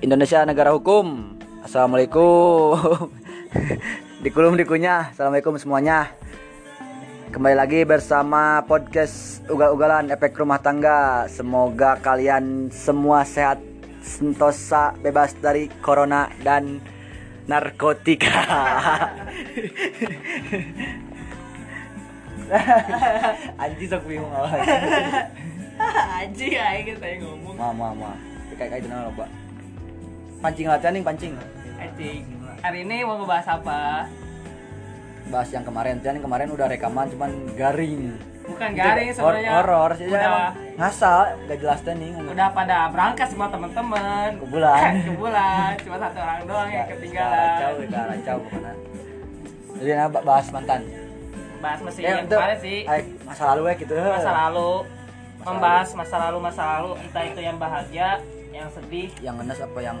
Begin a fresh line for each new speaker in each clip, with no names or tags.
Indonesia negara hukum. Assalamualaikum. Dikulum dikunyah. Assalamualaikum semuanya. Kembali lagi bersama podcast ugal-ugalan efek rumah tangga. Semoga kalian semua sehat, sentosa, bebas dari corona dan narkotika. Anjing sok bingung awalnya.
Aji aja kita yang ya, ngomong.
Ma, ma, ma. Kayak kayak itu loba. Pancing latihan nih, pancing.
Aji. Hari ini mau ngebahas apa?
Bahas yang kemarin, Tian yang kemarin udah rekaman cuman garing.
Bukan garing
Itu
sebenarnya.
Horor sih
Udah-
emang ngasal, gak jelas teh nih. ngomong.
Udah pada berangkat semua teman-teman.
Ke bulan.
Ke bulan. Cuma satu orang doang yang
Kacau,
ketinggalan.
udah kacau pokoknya. Jadi nah, bah- bahas mantan.
Bahas masih
Ya,
yang kemarin sih.
ay, masa lalu ya gitu.
Masa lalu.
lalu.
Membahas masa lalu masa lalu entah itu yang bahagia, yang sedih,
Yang ngenes apa yang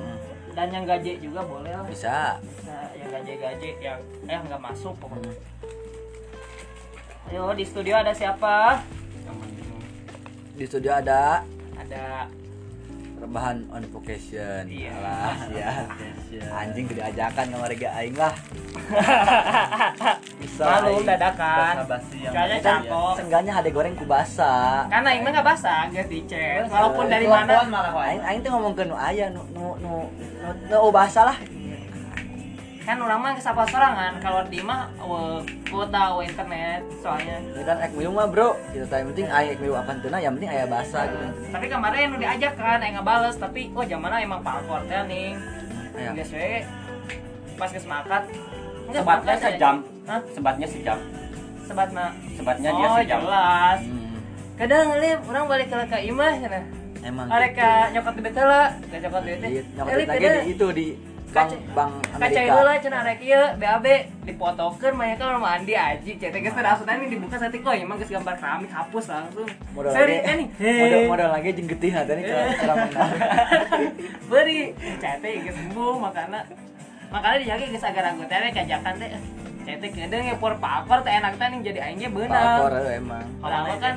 dan yang gaje juga boleh lah.
bisa.
Nah, yang gaje-gaje yang eh nggak masuk pokoknya. Ayo di studio ada siapa?
Di studio ada
Ada
rebahan on vocation.
Iya.
Alah, ya.
Iya.
Anjing tidak ajakan sama rega aing lah. Bisa.
Malu
aing.
dadakan.
basa-basi yang-
Kayaknya Eh, cakep.
Sengganya ada goreng ku basa.
Karena Imah nggak basah, nggak dicet. Walaupun dari mana,
Aing aing teh ngomong ke nu aya nu nu nu nu, nu oh, bahasa lah.
kan orang mah kesapa sorangan. Kalau di mah we- kuota we internet soalnya.
Ini kan ek miu mah bro. Kita tanya penting aing ek miu apaan teu na, yang penting aya bahasa gitu.
Tapi kemarin udah diajak kan, eh nggak bales. Tapi oh zaman emang palkor teh nih.
Iya.
Aya.
Geus we pas ke semakat. nggak
Sebatnya
sepakat
sejam.
aja. Hah?
Sebatnya sejam.
Sebat mah.
Sebatnya dia
Oh
sejam.
jelas.
Hmm,
Kadang lip, orang balik ke ya, ke Imah, cina.
Emang.
Mereka nyokot duit lah, gak nyokot duit teh.
Iya,
Di- nyokot
Eh,
duit
lip,
lagi
ini-
di itu di bank
Kaca-
bank
kaca itu
Amerika.
lah cina rek iya BAB dipotokeun mah kan rumah Andi aji cetek geus teh asutan ini dibuka satik euy emang geus gambar keramik hapus langsung
Modal lagi.
seri kan nih Eh,
Modal modal lagi jeung getih hata nih cara cara menang.
beri cetek geus sembuh makana makana dijaga geus agar anggota teh kajakan teh eh, cetek gedeng ya por papar teh enak teh nih jadi aingnya
Pelakor
beunang
eh, emang.
kalau mah kan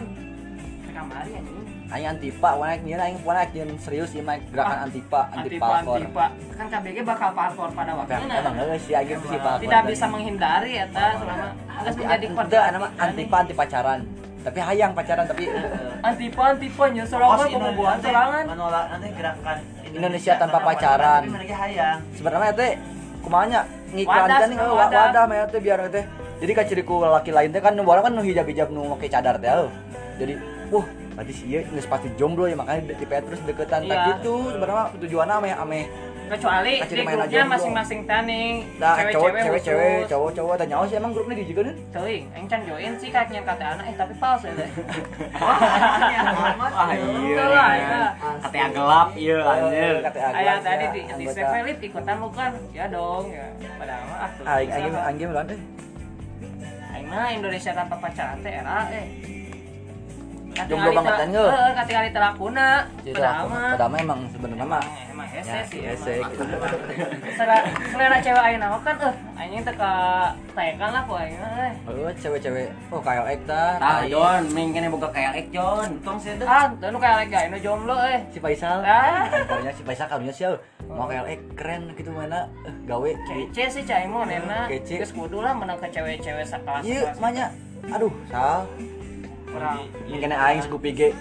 ke kamari anjing
Aing antipa, wana ek miu aing wana ek jeung serius ieu mah gerakan antipa, anti
Ah, antipa
pelakor.
antipa kan KBG bakal papar pada waktunya
Emang geus sih aing sih pelakor.
tidak
tadi.
bisa menghindari ya ta selama harus menjadi
Anti-
korban
nama antipa anti pacaran tapi hayang pacaran tapi
antipan antipan ya serangan
iya,
pembunuhan serangan
Menolak nanti gerakan
Indonesia tanpa pacaran.
Tapi mereka hayang.
sebenarnya teh kumanya
Wadah,
ngiklankan nih
sebenarnya
wadah,
wadah.
kan, wadah mah teh biar teh jadi kaciriku laki lain teh kan nu orang kan nu hijab hijab nu pakai cadar teh lo jadi wah tadi sih iya nggak sepatu jomblo ya makanya di Petrus deketan tak
Iya.
gitu sebenarnya tujuannya ame ame
kecuali
Kacil
di
main aja
grupnya
dulu.
masing-masing taning
nah cowok
cewek-cewek
cewek cewek
khusus.
cowok cowok tanya oh sih emang grupnya di juga nih
Teuing, aing can join sih kaknya kata anak eh tapi palsu ya. teh.
Ah,
Wah,
Ah, iya,
iya.
Betul lah, ya.
Katanya gelap, iya
Eh,
anjir.
Ya,
Ayah tadi di di Sevelip ikutan lu kan. Ya dong ya. Padahal mah ah, tuh.
Aing
bisa,
aing
ha.
aing mah teh
Aing mah Indonesia tanpa pacaran teh era eh. Katingali
Jomblo
teu-
bangetan, geul.
Heeh, katingali teu lakuna. Padahal mah. eh,
padahal mah emang sebenarnya mah
Emang hese
Ya,
sih.
hese
emang.
gitu.
Selera selera cewek aing nama kan eh anjing teu ka taekan lah ku aing mah, eh.
Oh, cewek-cewek. Oh, kayak
Nah,
Ekta.
Tah,
tai.
Jon, mingkin boga kayak ek, Jon. Tong sih itu.
Ah, tuh nu kayak lagi ini jomblo eh.
Si Faisal.
Ah.
Karunya si Faisal karunya sih. Mau kayak Ek keren gitu mana eh, gawe.
Kece sih cai mau nena.
Kece.
Geus kudu lah menang ke cewek-cewek sakelas.
Ieu manya. Aduh, Sal.
Kurang.
Mungkin aing Scoopy ge.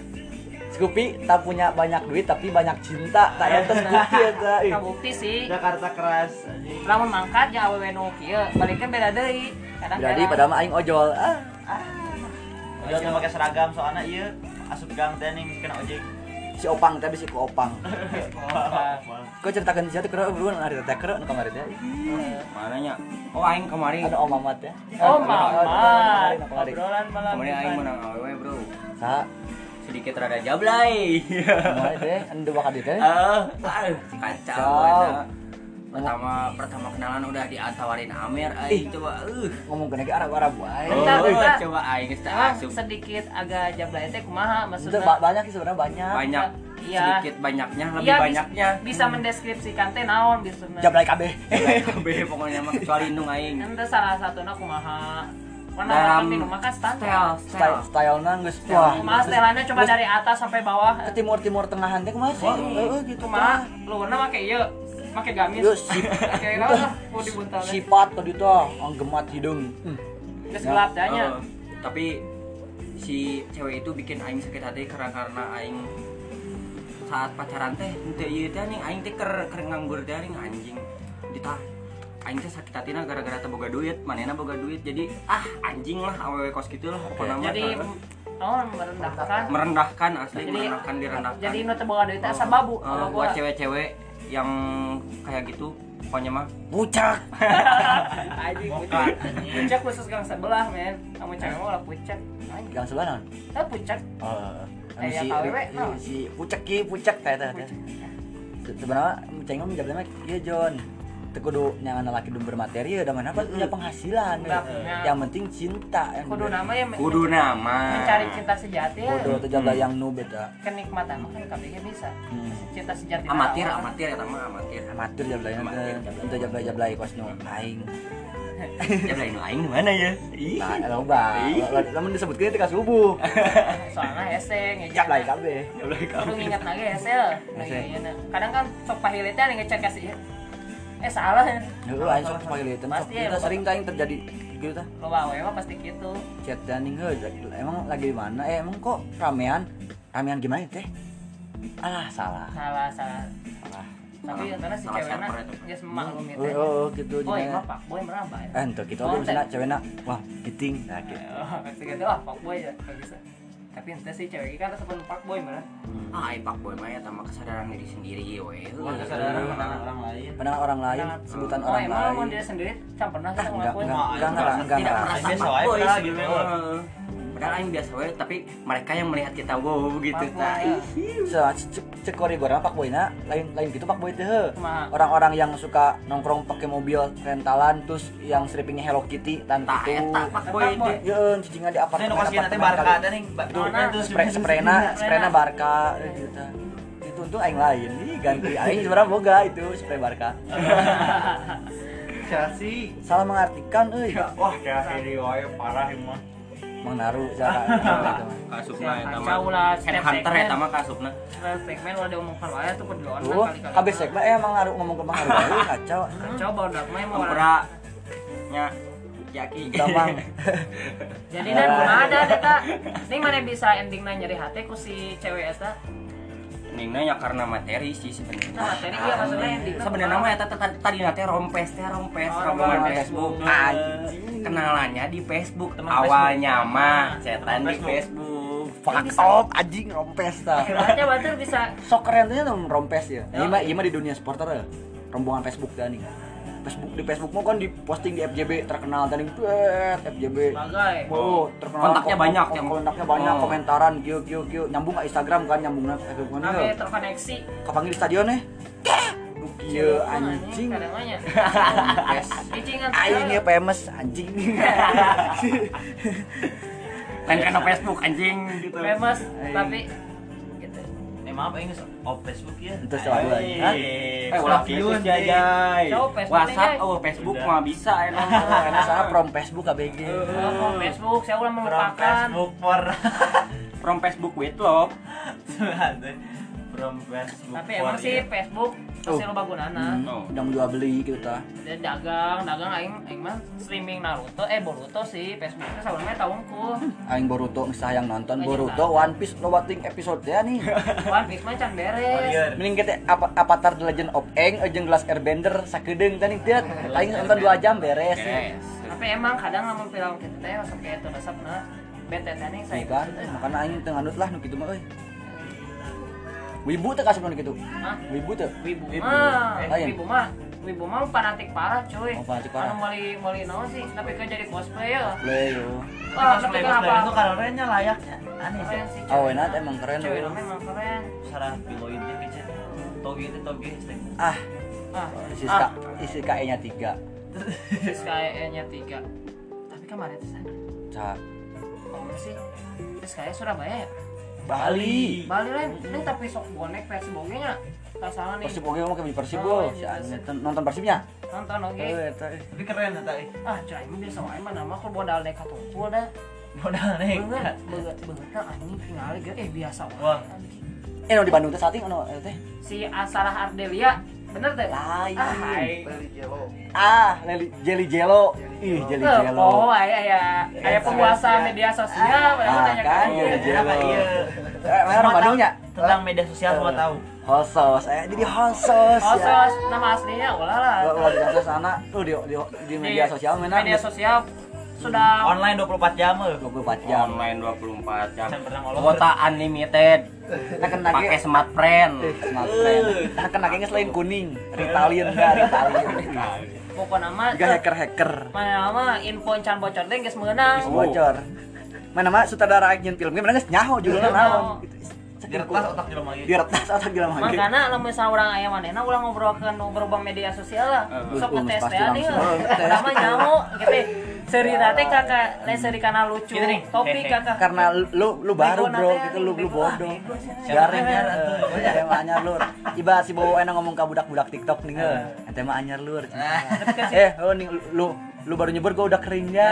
Scoopy tak punya banyak duit tapi banyak cinta. Tak eta Scoopy eta. Ih.
Kabukti sih.
Jakarta keras. anjing.
Lamun mangkat ya awewe nu kieu, balikeun beda deui. Kadang-kadang.
Jadi padahal mah aing ojol. Ah.
Jon teu pakai seragam soalnya iya asup gang teh nih kena ojek.
Si Opang tadi si ku Opang. Kau ceritakan siapa tuh keren beruan hari teh keren kemarin ya.
Iya, Mananya? Oh aing kemarin.
Ada Om Mamat ya. Ada
Oh,
Om Mamat,
mama.
ada Om Mamat, ada Om Mamat.
Obrolan malam.
Kemarin aing
ini.
menang awewe, Bro.
Sa,
Sedikit rada jablay.
kemarin teh anu dua kali teh.
Eh, aduh, kacau.
Kacau.
banget. Pertama pertama kenalan udah ditawarin Amer aing coba eh.
ngomong ke negara Arab wae.
Oh,
Bentar, bentar.
coba aing geus teu
Ah,
asup.
sedikit agak jablay teh kumaha
Itu
maksudnya?
ba- banyak sih sebenarnya banyak.
Banyak
Iya.
sedikit banyaknya lebih
Iya, bis-
banyaknya.
Bisa mendeskripsikan teh naon bisunna.
Jablay kabeh.
Be pokoknya mah kecuali nung aing.
Ente salah satunya kumaha mana
Dalam
orang minum maka kan standar
style style
Style, style nangis
Style.
wah.
Nah.
gitu.
mas telannya cuma dari atas sampai bawah
Ke timur timur tengahan teh kumaha sih?
Oh,
Heeh gitu
mah lu warna make iya make gamis
Yo sip.
akhirnya lah mau dibuntal deh
Sifat tadi tuh, anggemat hidung.
Hmm. terus
Oh,
gelap
Eh,
dahnya
tapi si cewek itu bikin aing sakit hati karena karena aing saat pacaran teh teu ieu teh anjing aing teh keur keur nganggur teh anjing anjing ditah aing teh sakit hatina gara-gara teh boga duit manehna boga duit jadi ah anjing lah awewe kos gitu lah apa nama
jadi
teh.
oh merendahkan
merendahkan asli
Jadi-
merendahkan direndahkan
jadi nu teu bawa duit asa babu
Eh,
Oh,
kalau gua
buat cewek-cewek yang kayak gitu pokoknya mah
Pucak.
anjing
Bukan.
pucat pucat khusus gang sebelah men kamu cewek mah lah pucat anjing
Gang sebelah naon?
eh pucat
Oh,
Eh, ya, kawewe, naon?
si pucak ki pucak teh teh. teh.
ya.
Se- Sebenarnya cengeng menjawabnya iya John. Teu kudu nyangan laki dumber materi ya, udah mana apa punya penghasilan.
Udah
Eh,
punya.
Yang penting cinta yang
Hmm. kudu nama ya men-
kudu nama
mencari cinta sejati ya
Kudu teu jaga yang nu beda.
kenikmatan mah kan kabeh bisa
Hmm.
cinta sejati
amatir
teh,
amatir ya mah amatir
Amatir jablay
Amatir,
teh.
jablay.
Teu jablay-jablay kos nu aing.
ya lain lain mana ya ih
Nah, loba. Lamun disebutkeun teh ka subuh.
soalna heseng ya
Jablay kabeh.
Jablay ka-
Lu nginget lagi ya sel Nah,
Hesel.
iya, iya. Kadang kan sok pahili teh ada yang ngechat kasih Eh salah
Heeh, aing sok panggil ieu teh. sok.
Pasti ya,
Kita
loba.
sering teh aing terjadi gitu tah.
Lo bawa emang pasti gitu
chat daning heuh emang lagi di mana eh emang kok ramean ramean gimana teh alah salah
Salah salah
salah
Tapi
Salah.
ya karena si
Salah
ceweknya
server itu.
Dia semaklum
oh,
gitu
oh, oh, gitu
Boy
jadinya.
mah pak boy merambah ya
eh untuk kita
Oh,
oh, cewek
teh.
ceweknya wah giting nah, gitu.
Oh, Pasti gitu ah pak boy ya nggak bisa Tapi ente sih cewek ini kan sebelum pak boy merah
ah ai pak boy mah ya tambah kesadaran diri sendiri we
Bukan kesadaran pandangan orang lain.
pandangan orang lain
Jangan.
sebutan
Oh
orang
emang
lain
mau dia sendiri Kan pernah kita
Ah, enggak,
ngelakuin
enggak,
Wah,
enggak,
aing
enggak,
merasa
enggak,
tidak
enggak.
merasa
Biasa
pak
wae,
boy
padahal
sih,
gitu.
heeh. padahal aing biasa we tapi mereka yang melihat kita wow gitu
Pak boy.
nah ih.
Sa- cek cek koridornya pak boy na lain lain gitu pak boy teh heuh.
Kumaha?
orang-orang yang suka nongkrong pakai mobil rentalan terus yang strippingnya Hello Kitty tan
tak eta
gitu
pak boy
Pak boy.
teh.
Yeun cicingan di
Ini
apartemen
lokasi nanti
apartemen
barca
kali.
teh nih. Ba-
Nona,
duitnya terus
spray sprayna sprayna barca eh, gitu itu untuk aing lain ini ganti aing sebenarnya boga itu spray barca
Chelsea.
salah mengartikan euy
Ya, Wah, kayak ini wae parah emang.
mengaruh cara
kasupna eta mah
Kacau lah, step
headhunter ya,
segmen.
eta mah kasupna
Terus segmen udah diomongkan wae tuh nah, penduaan
tuh kabeh sekma eh emang ngaruh ngomong ke mengaruh euy, kacau
Coba udah main mau
tempura nya yaki
gampang
Jadi
Ah.
dan kumaha ada eta. Ning mana bisa endingna nyeri hati ku si cewek eta.
Ningna ya karena materi sih sebenarnya.
Nah, materi iya, maksudnya yang di-
sebenarnya mah eta tadi tadi nate rompes teh rompes
Oh,
rombongan
rombongan
Facebook.
Facebook.
Anjing. Kenalannya di Facebook.
Teman
Awalnya
Facebook.
mah
Teman
cetan di Facebook.
Facebook.
fuck off anjing rompes ta
Akhirnya batur bisa
sok keren tuh dong rompes ya ini
Oh, iya.
mah ieu mah di dunia supporter ya rombongan Facebook dan nih Facebook di Facebook mau kan diposting di FJB terkenal dan itu FJB
sebagai
Oh, terkenal
Kontaknya
kom-
banyak,
kom-
yang-
kontaknya banyak,
Oh.
komentaran, kyo kyo kyo, nyambung ke Instagram kan, nyambung ke Instagram kan,
Nabe terkoneksi.
kapanggil di stadion nih, iya anjing,
Kadangnya. Icingan.
aing ya famous anjing,
Lain karena Facebook anjing gitu.
Famous
Aing.
tapi gitu.
Eh maaf, ini off Facebook ya.
Itu salah gua,
Eh,
hah?
Eh, ulah
views
Facebook,
jajay.
Coba Facebook
WhatsApp oh Facebook
Udah.
mah bisa emang.
karena saya from Facebook KBG, Ah.
Oh, Facebook saya udah
From
melupakan.
Facebook for
From Facebook with love.
From Facebook
Tapi emang
for-
sih Facebook pasti lo bagunana.
Hmm,
Oh.
udah menjual beli gitu ta,
Dan dagang, dagang aing aing mah streaming Naruto eh Boruto sih Facebook teh sabaraha tahunku.
aing Boruto nggak sayang nonton
Banyak
Boruto One Piece lobating episode ya nih,
One Piece mah can
Oh, iya.
beres.
Warrior.
mending kita apa Avatar The Legend of Aang, jeung Glass Airbender, sakedeung tadi tiat,
Iya.
aing nonton dua jam beres,
Yes.
Tapi emang kadang lamun film kita teh resep kayak itu resep na bete teh nih saya
Nih kan, makanya aing teu nganut lah nu kitu mah euy. Wibu teh kasih nu kitu.
Hah?
Wibu teh.
Wibu
Wibu.
mah,
Eh, lain.
wibu mah, wibu mah fanatik parah cuy.
Oh, fanatik parah.
Anu mali mali naon sih? Tapi kan jadi cosplay ya.
Boleh yo.
Wah, tapi
Tapi cosplay-
kan
cosplay itu
apa?
karirnya layaknya. Aneh sih.
Keren sih.
Oh,
cewek
enak
mah.
emang keren.
Cewek
lu.
mah emang keren.
Sarah piloidnya kecil. Toge itu toge stick.
Ah,
Ah,
isi
ah,
ka, isi KE-nya 3.
sis kayaknya tiga. Tapi kemarin tuh saya,
Cak.
kamu sih, sis kayak Surabaya ya.
Bali.
Balik lain, ini tapi sok bonek versi bogenya. Tak salah nih.
Persib oge mau ke Persib
Oh,
lo.
iya,
Si Ani nonton Persibnya.
nonton oke
Eh, eta, eh.
tapi keren eta ih.
ah cai mah biasa wae mah nama aku modal nekat tungkul dah
modal
bener
nekat
bener bener nah, anjing tinggal ge eh biasa
Wah.
wae anjing.
eh no di Bandung teh sating anu eh, teh
si Asalah Ardelia bener teh
lain
Ah, hai.
ah Leli- jelly jello ih jelly
Eh, Oh,
jello
aya aya aya penguasa media sosial,
Iya, Ah,
ah, nanya
kan,
kan.
iya,
Iya.
iya.
Kenapa iya?
eh mana orang Bandung ya
tentang media sosial semua tahu
hot sauce eh jadi hot sauce
Oh,
ya.
sos, nama aslinya ulah lah.
Kalau di atas sana tuh di, di, di Oh, iya, media sosial mana
Media sosial sudah
online 24 jam eh.
24 jam.
online 24 jam
Jangan pernah ngolong. iya.
kuota unlimited
Nah kena Eh,
pakai smart friend
smartphone. Nah kena kayaknya selain kuning, Ritalin enggak Ritalin.
pokoknya nama
Juga hacker-hacker.
mana nama info encan bocor deh geus meunang.
Oh, Bocor. Mana mah sutradara action film gimana geus nyaho judulnya naon gitu.
Biar kelas otak gitu. di rumah
Di retas otak gila mah.
Makanya lamun misalnya orang ayam manehna ulah ngobrolkeun nu berhubung media sosial lah.
Eh,
Sok
eh,
ngetes
pasti
teh nih.
langsung. Eh,
Udah mah nyaho gitu. Cerita teh kakak lain seri kana lucu.
Gitu nih.
Topik kakak
Karena lu lu Ya. baru
Bego
bro
nanti,
gitu lu lu
bego lah,
bodoh.
bego sih.
Garing
Siapa
ya.
yang anyar, atuh?
Emang anyar lur. Iba si bawa enak ngomong ke budak-budak TikTok nih nge.
Iya.
Ente mah anyar lur.
Ah.
Eh, oh nih lu lu baru nyebur gua udah kering ya.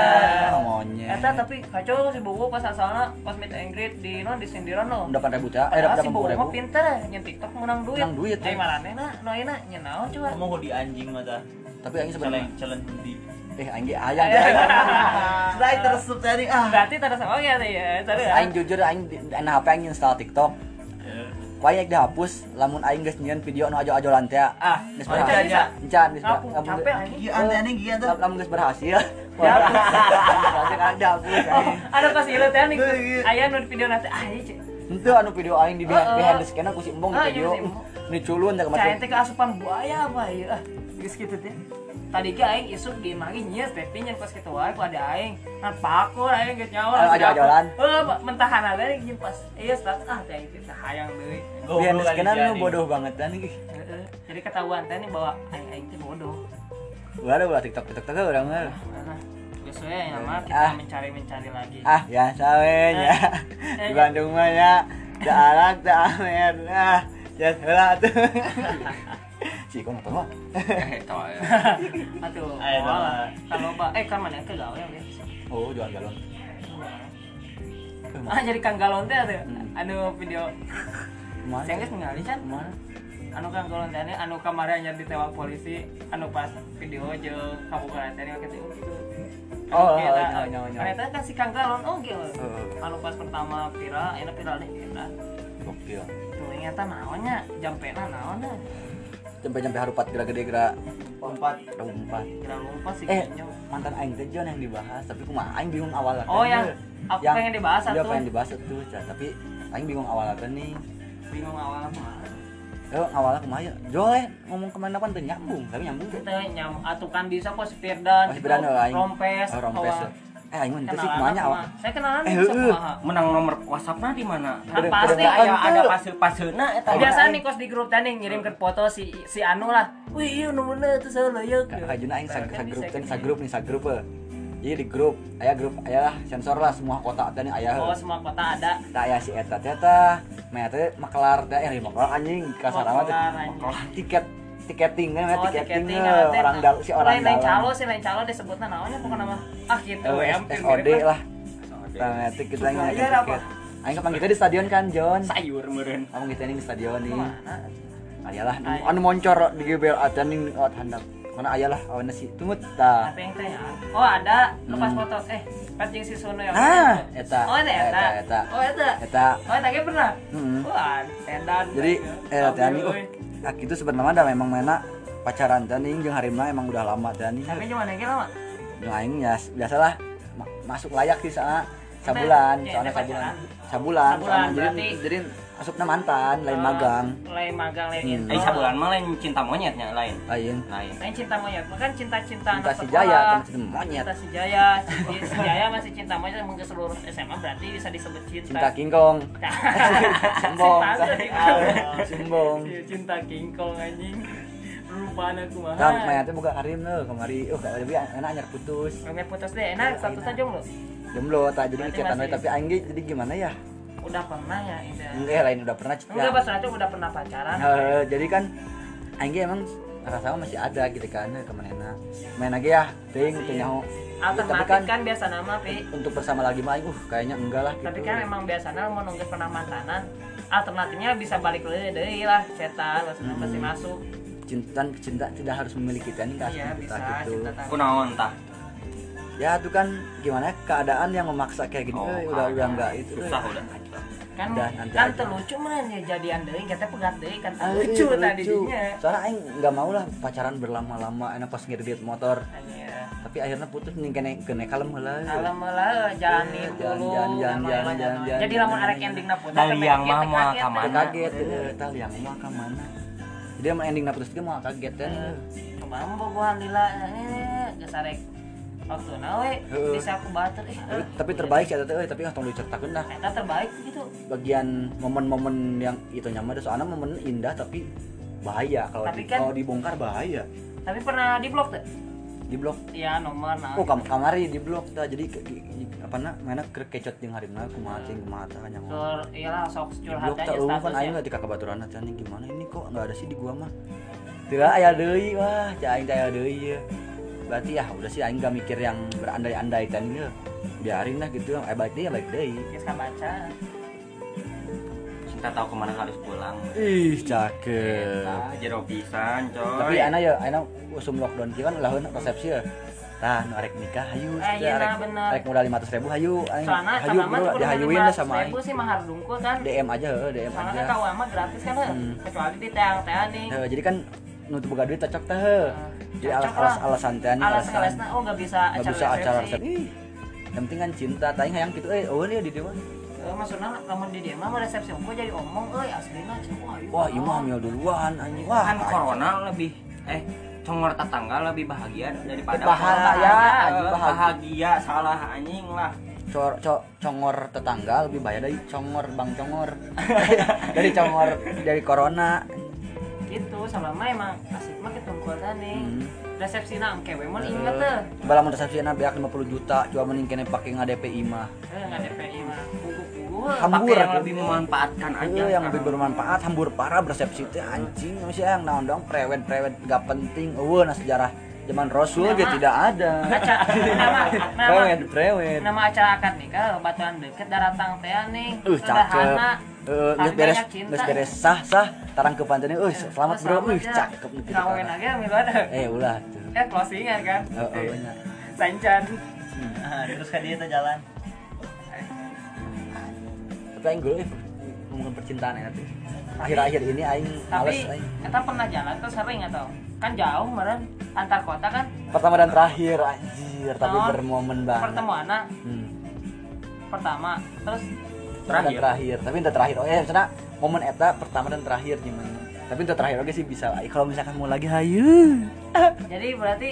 Ah.
Monyet.
Eta tapi kacau si Bowo pas asalnya pas meet and greet di non di sindiran no.
Delapan ribu ya, eh
Padahal
dapat
Ah, si Bowo mah pinter ya, nyen TikTok menang duit.
Menang duit, eh.
Ai
ya.
marane na, no ayeuna nyen naon coba.
mau di anjing mah dah
Tapi aing sebenarnya
challenge challenge di
eh aing ge ayah. ge ayah.
sudah tersup tadi ah
Eh, Berarti oh tara sama ya teh ya. Tara.
Aing jujur aing di di HP aing install TikTok.
ya.
Ku aing dihapus lamun aing geus nyieun video nu ajo-ajolan teh.
Ah,
Geus
aja, aja.
berhasil. Encan geus
Ngapung capek
berhasil.
anjing.
Iya, aneh aneh gitu.
Lamun geus berhasil. Berhasil kan dihapus
Oh,
aing.
ada pas ieu teh nih.
Tuh, iya.
Aya nu di video nanti ah ieu. ce-
Henteu anu video aing di
Oh,
behind,
oh.
behind the scanner ku si Embong di
Ah, iya,
video.
si Embong.
Ini culun teh
Cai
kemarin.
teh keasupan buaya apa ieu ah. Geus kitu teh. Tadi ge aing isuk di magi nyies tapi nyen pas kitu wae ku ada aing. Nah pakur aing geus nyawa.
Ah,
langsung
ajo-ajolan.
dapet. Heuh, mentahan ada jeung pas ieu status ah teh ieu teh hayang deui.
Behind the scanner nu bodoh banget dan ih.
Heeh. Jadi ketahuan teh nih bahwa aing aing teh bodoh.
Ulah ulah TikTok TikTok teh urang mah.
Nah, biasanya yang nama
Ah.
kita mencari-mencari lagi.
ah biasa wen ya di Bandung mah ya da alat da amer ah ya heula tuh sih kok nonton mah
eh tau ya.
Aduh,
Ayo,
malah. Kalau Pak, eh kan mana ke gawe ya.
oh jualan galon
Ah, jadi Kang Galon teh tuh.
Hmm.
Anu video
mana
saya geus ningali kan.
mana
Anu Kang Galon teh anu kamarnya nya ditewak polisi, anu pas video jeung kabupaten teh oke tuh. gitu.
Oh,
Oke,
oh,
nah,
nyawa, nyawa, nyawa.
Ternyata kan si Kang Galon oh gitu.
Oh.
Anu pas pertama viral, enak viral deh. enak.
gokil
Tuh ternyata naonnya, jampena naonnya.
sampai sampai harupat gerak gede gerak
empat
empat
Kira lupa sih
eh
kayaknya.
mantan aing teh John yang dibahas tapi kumaha aing bingung awalnya
Oh, yang aku pengen dibahas
iya,
satu.
pengen dibahas satu Cah. tapi aing bingung awalnya teh nih
Bingung awalnya kumaha.
Eh, awalnya kumaha ya? Joe ngomong kemana pun teh nyambung, tapi nyambung teh.
kita nyam atukan bisa kok spear dan
Masih berani lah aing.
rompes
Oh, rompes.
kawan.
ya. Eh, aing mah teh sih
Kenalan
kumanya
aku
awal.
mah. saya kenalan
Eh,
bisa
eh.
kumaha.
menang nomor WhatsAppnya di mana
Nah,
Beda-
pasti
beda-
aya
Aya ada eh,
ada pas
pasir pasirna eta
biasa nih kos di grup tadi ngirim ke foto si si Anu lah wih iya nomornya itu saya layak
Ka- kajuna aing sa, sa grup kan sa grup nih sa grup eh. Jadi di grup aya grup aya lah sensor lah semua kota teh nih aya.
oh semua kota ada
Tah aya si eta teh tah, maya teh makelar teh eh makelar anjing kasarama teh.
Makelar, anjing.
Makelar tiket tiketing kan
Oh,
tiketing
tiketing,
eh,
karate.
orang dal si orang
lain lain calo
dalam.
si lain calo disebutnya namanya pokoknya nama ah gitu
Eh,
ya
S- SOD lah. Tah eta kita
Supplier
ngajak
Iya, apa?
tiket. Aing kapan kita di stadion kan, John?
sayur meureun
Kamu kita ini di stadion nih.
Kemana?
Ayalah,
Aya.
anu moncor di GBLA teh nih lewat handap. Mana ayalah awana si tunggut tah.
apa yang teh ya? oh ada lepas foto eh pas jeung si Sono yang
Nah, Hmm. eta.
oh ada eta
Eta, eta.
oh eta
Eta
oh eta ge pernah
Mm.
wah edan
jadi eh Tani oh aku itu sebenarnya ada memang mana pacaran Tani jeung Harimna emang udah lama Tani
tapi cuma nanya lama
jeung aing ya biasalah ma- masuk layak sih sana sabulan
Ya,
soalnya
ya, pacaran.
sabulan sabulan
Sabulan,
soalnya jadi
berarti-
jadi masuknya mantan lain
Ah,
magang
lain magang lain
Hmm.
intro.
Ai sabulan mah lain cinta monyetnya lain
lain
lain
lain cinta monyet makan cinta cinta
cinta
anak
si
sekolah
Jaya kan cinta monyet
cinta si Jaya si, si Jaya masih cinta monyet mungkin seluruh SMA berarti bisa disebut cinta
cinta Oh, kingkong
Nah,
Sombong.
cinta aja, cinta.
Sombong.
Si cinta kingkong anjing rupanya kumaha
Nah, kemarin tuh buka Harim tuh kemari, oh kalau lebih enak anyar putus,
Kami putus deh,
Iya,
enak satu saja belum?
jomblo tak jadi
Berarti
kegiatan we,
masih-
tapi aing ge jadi gimana ya?
Udah pernah ya, Indah?
Iya. Enggak lain udah pernah.
Enggak,
ya.
pas Ratu udah pernah pacaran.
Eh, jadi kan Anggi emang kerasa masih ada gitu kan eh, kemana main lagi ya ting ting nyaho tapi
alternatif
kan Gitu.
kan, biasa nama pi
untuk bersama lagi mah uh kayaknya enggak lah gitu
tapi kan memang biasanya mau nunggu pernah makanan alternatifnya bisa balik lagi deh lah cetak maksudnya
Hmm.
pasti masuk
cinta cinta tidak harus memiliki kan enggak
iya
harus
bisa
cinta gitu
cinta tak-
kunaon tah
ya itu kan gimana ya, keadaan yang memaksa kayak gini
Oh,
eh, udah
kan.
udah enggak itu
susah udah
kan
Udah, nanti
kan
aja.
terlucu mah ya jadian deh kita pegat deh kan
Ah,
terlucu
eh,
tadi dinya
soalnya aing nggak mau lah pacaran berlama-lama enak pas ngedit motor
Anjir.
tapi akhirnya putus nih kene kene kalem heula
kalau
Iya,
malah jalani
Jalan,
mulu
jalan, jalan,
lama-lama
jalan,
jalan.
jalan,
jadi
jalan,
lamun
jalan,
arek
jalan.
ending na putus
Dan
tapi
yang
kita
mah mau
kaget,
kemana?
Teu
eh.
kaget eh, tah liang mah ka mana jadi emang ending napus dia mah kaget kan
Iya. kemarin bobohan lila eh, geus arek waktu nawe
Heeh.
bisa aku bater eh
tapi,
ah,
tapi
iya.
terbaik ya teh eh, tapi nggak tong diceritakeun dah
eta terbaik gitu
bagian momen-momen yang itu nyaman ada soalnya momen indah tapi bahaya kalau
Tapi
di-
kan-
kalau dibongkar bahaya
tapi pernah di blok tuh
di blok
ya nomor nah
oh kam kamari di blok dah jadi ke, ke- ke- apa na mana ke kecot jeung harimna kumaha teh kumaha tah nya mah.
sur iyalah iya sok
di
curhat
blok
aja
tak eueuh kan aing
statusnya
ketika kabaturan teh anjing gimana ini kok nggak ada sih di gua mah teu lah, aya deui wah cai aing teh aya deui ya berarti ya udah sih aing gak mikir yang berandai-andai teh nih biarin lah gitu eh balik deui ya balik deui
geus kabaca
cinta tahu kemana harus pulang
ih
Iya,
cakep
Tah, jero pisan coy
tapi ana ya ana usum lockdown kieu kan laheun resepsi ya tah nu arek nikah hayu
Eh, iya
arek,
nah, bener.
arek modal 500.000 hayu aing
soalnya
hayu
sama mah
bro
tuh
dihayuin lah sama aing
ribu sih mahar dungkul kan
DM aja heeh DM
soalnya
aja
kan tahu amat gratis kan eh.
Iya. Hmm.
kecuali di teang teang nih
Heeh, jadi kan nu teu boga duit cocok teh
Ah,
heeh. jadi alas alas alasan teh nih,
alas
alasan
alasnya oh nggak bisa
nggak
acara
bisa acara resep
resepsi
ih yang penting kan cinta tanya hayang gitu eh oh ini di dewa
Eh, maksudnya kamu di dia mah mau resepsi gue jadi omong eh aslinya cuma
wah iya, ieu mah hamil duluan anjing wah
kan corona lebih eh congor tetangga lebih bahagia daripada
Bahaya,
corona.
anjing,
Eh,
bahagia.
bahagia salah anjing lah
cor co- congor tetangga lebih bahaya dari congor bang congor dari congor dari corona
gitu sama mah emang asik mah ketungkul tadi
Hmm. Eh.
resepsi nang kewe mau inget eh. tuh
Bala mun resepsieuna beak 50 juta cuma mending kene pake ngadepei mah.
eh nggak DPI mah buku-buku
Hambur
pakai yang
atuh.
lebih memanfaatkan
Iya,
aja
Heuh, ya. Kan Iya, yang
sekarang.
lebih bermanfaat hambur parah resepsi teh anjing masih yang naon dong prewed-prewed gak penting. Eueuh nah sejarah zaman Rasul
Nama-
dia tidak ada.
Baca,
Iya.
nama, nama,
Prewed-prewed.
nama acara akad nikah batuan deket daratang teh nih
Uh, cakep. Eh,
Harganya
geus beres,
Kan cinta.
geus beres sah sah. Tarang ke pantene, euy, selamat bro, uh, cakep nih
nih
kita.
kawin Eh, ya. lagi ambil ada
Eh, ulah tuh.
eh closingan kan
Oh, oh, benar.
sancan
terus ke Ah, dia teh jalan
Tapi aing gue ngomongin percintaan ya tuh. Akhir-akhir ini aing males
tapi
aing.
kita pernah jalan tuh sering atau kan jauh meren antar kota kan
Pertama dan terakhir anjir, tapi
Naon?
bermomen banget.
pertemuannya
Hmm.
pertama terus
terakhir. dan terakhir tapi yang terakhir oh ya misalnya momen eta pertama dan terakhir gimana tapi yang terakhir oke sih bisa lah kalau misalkan mau lagi hayu
jadi berarti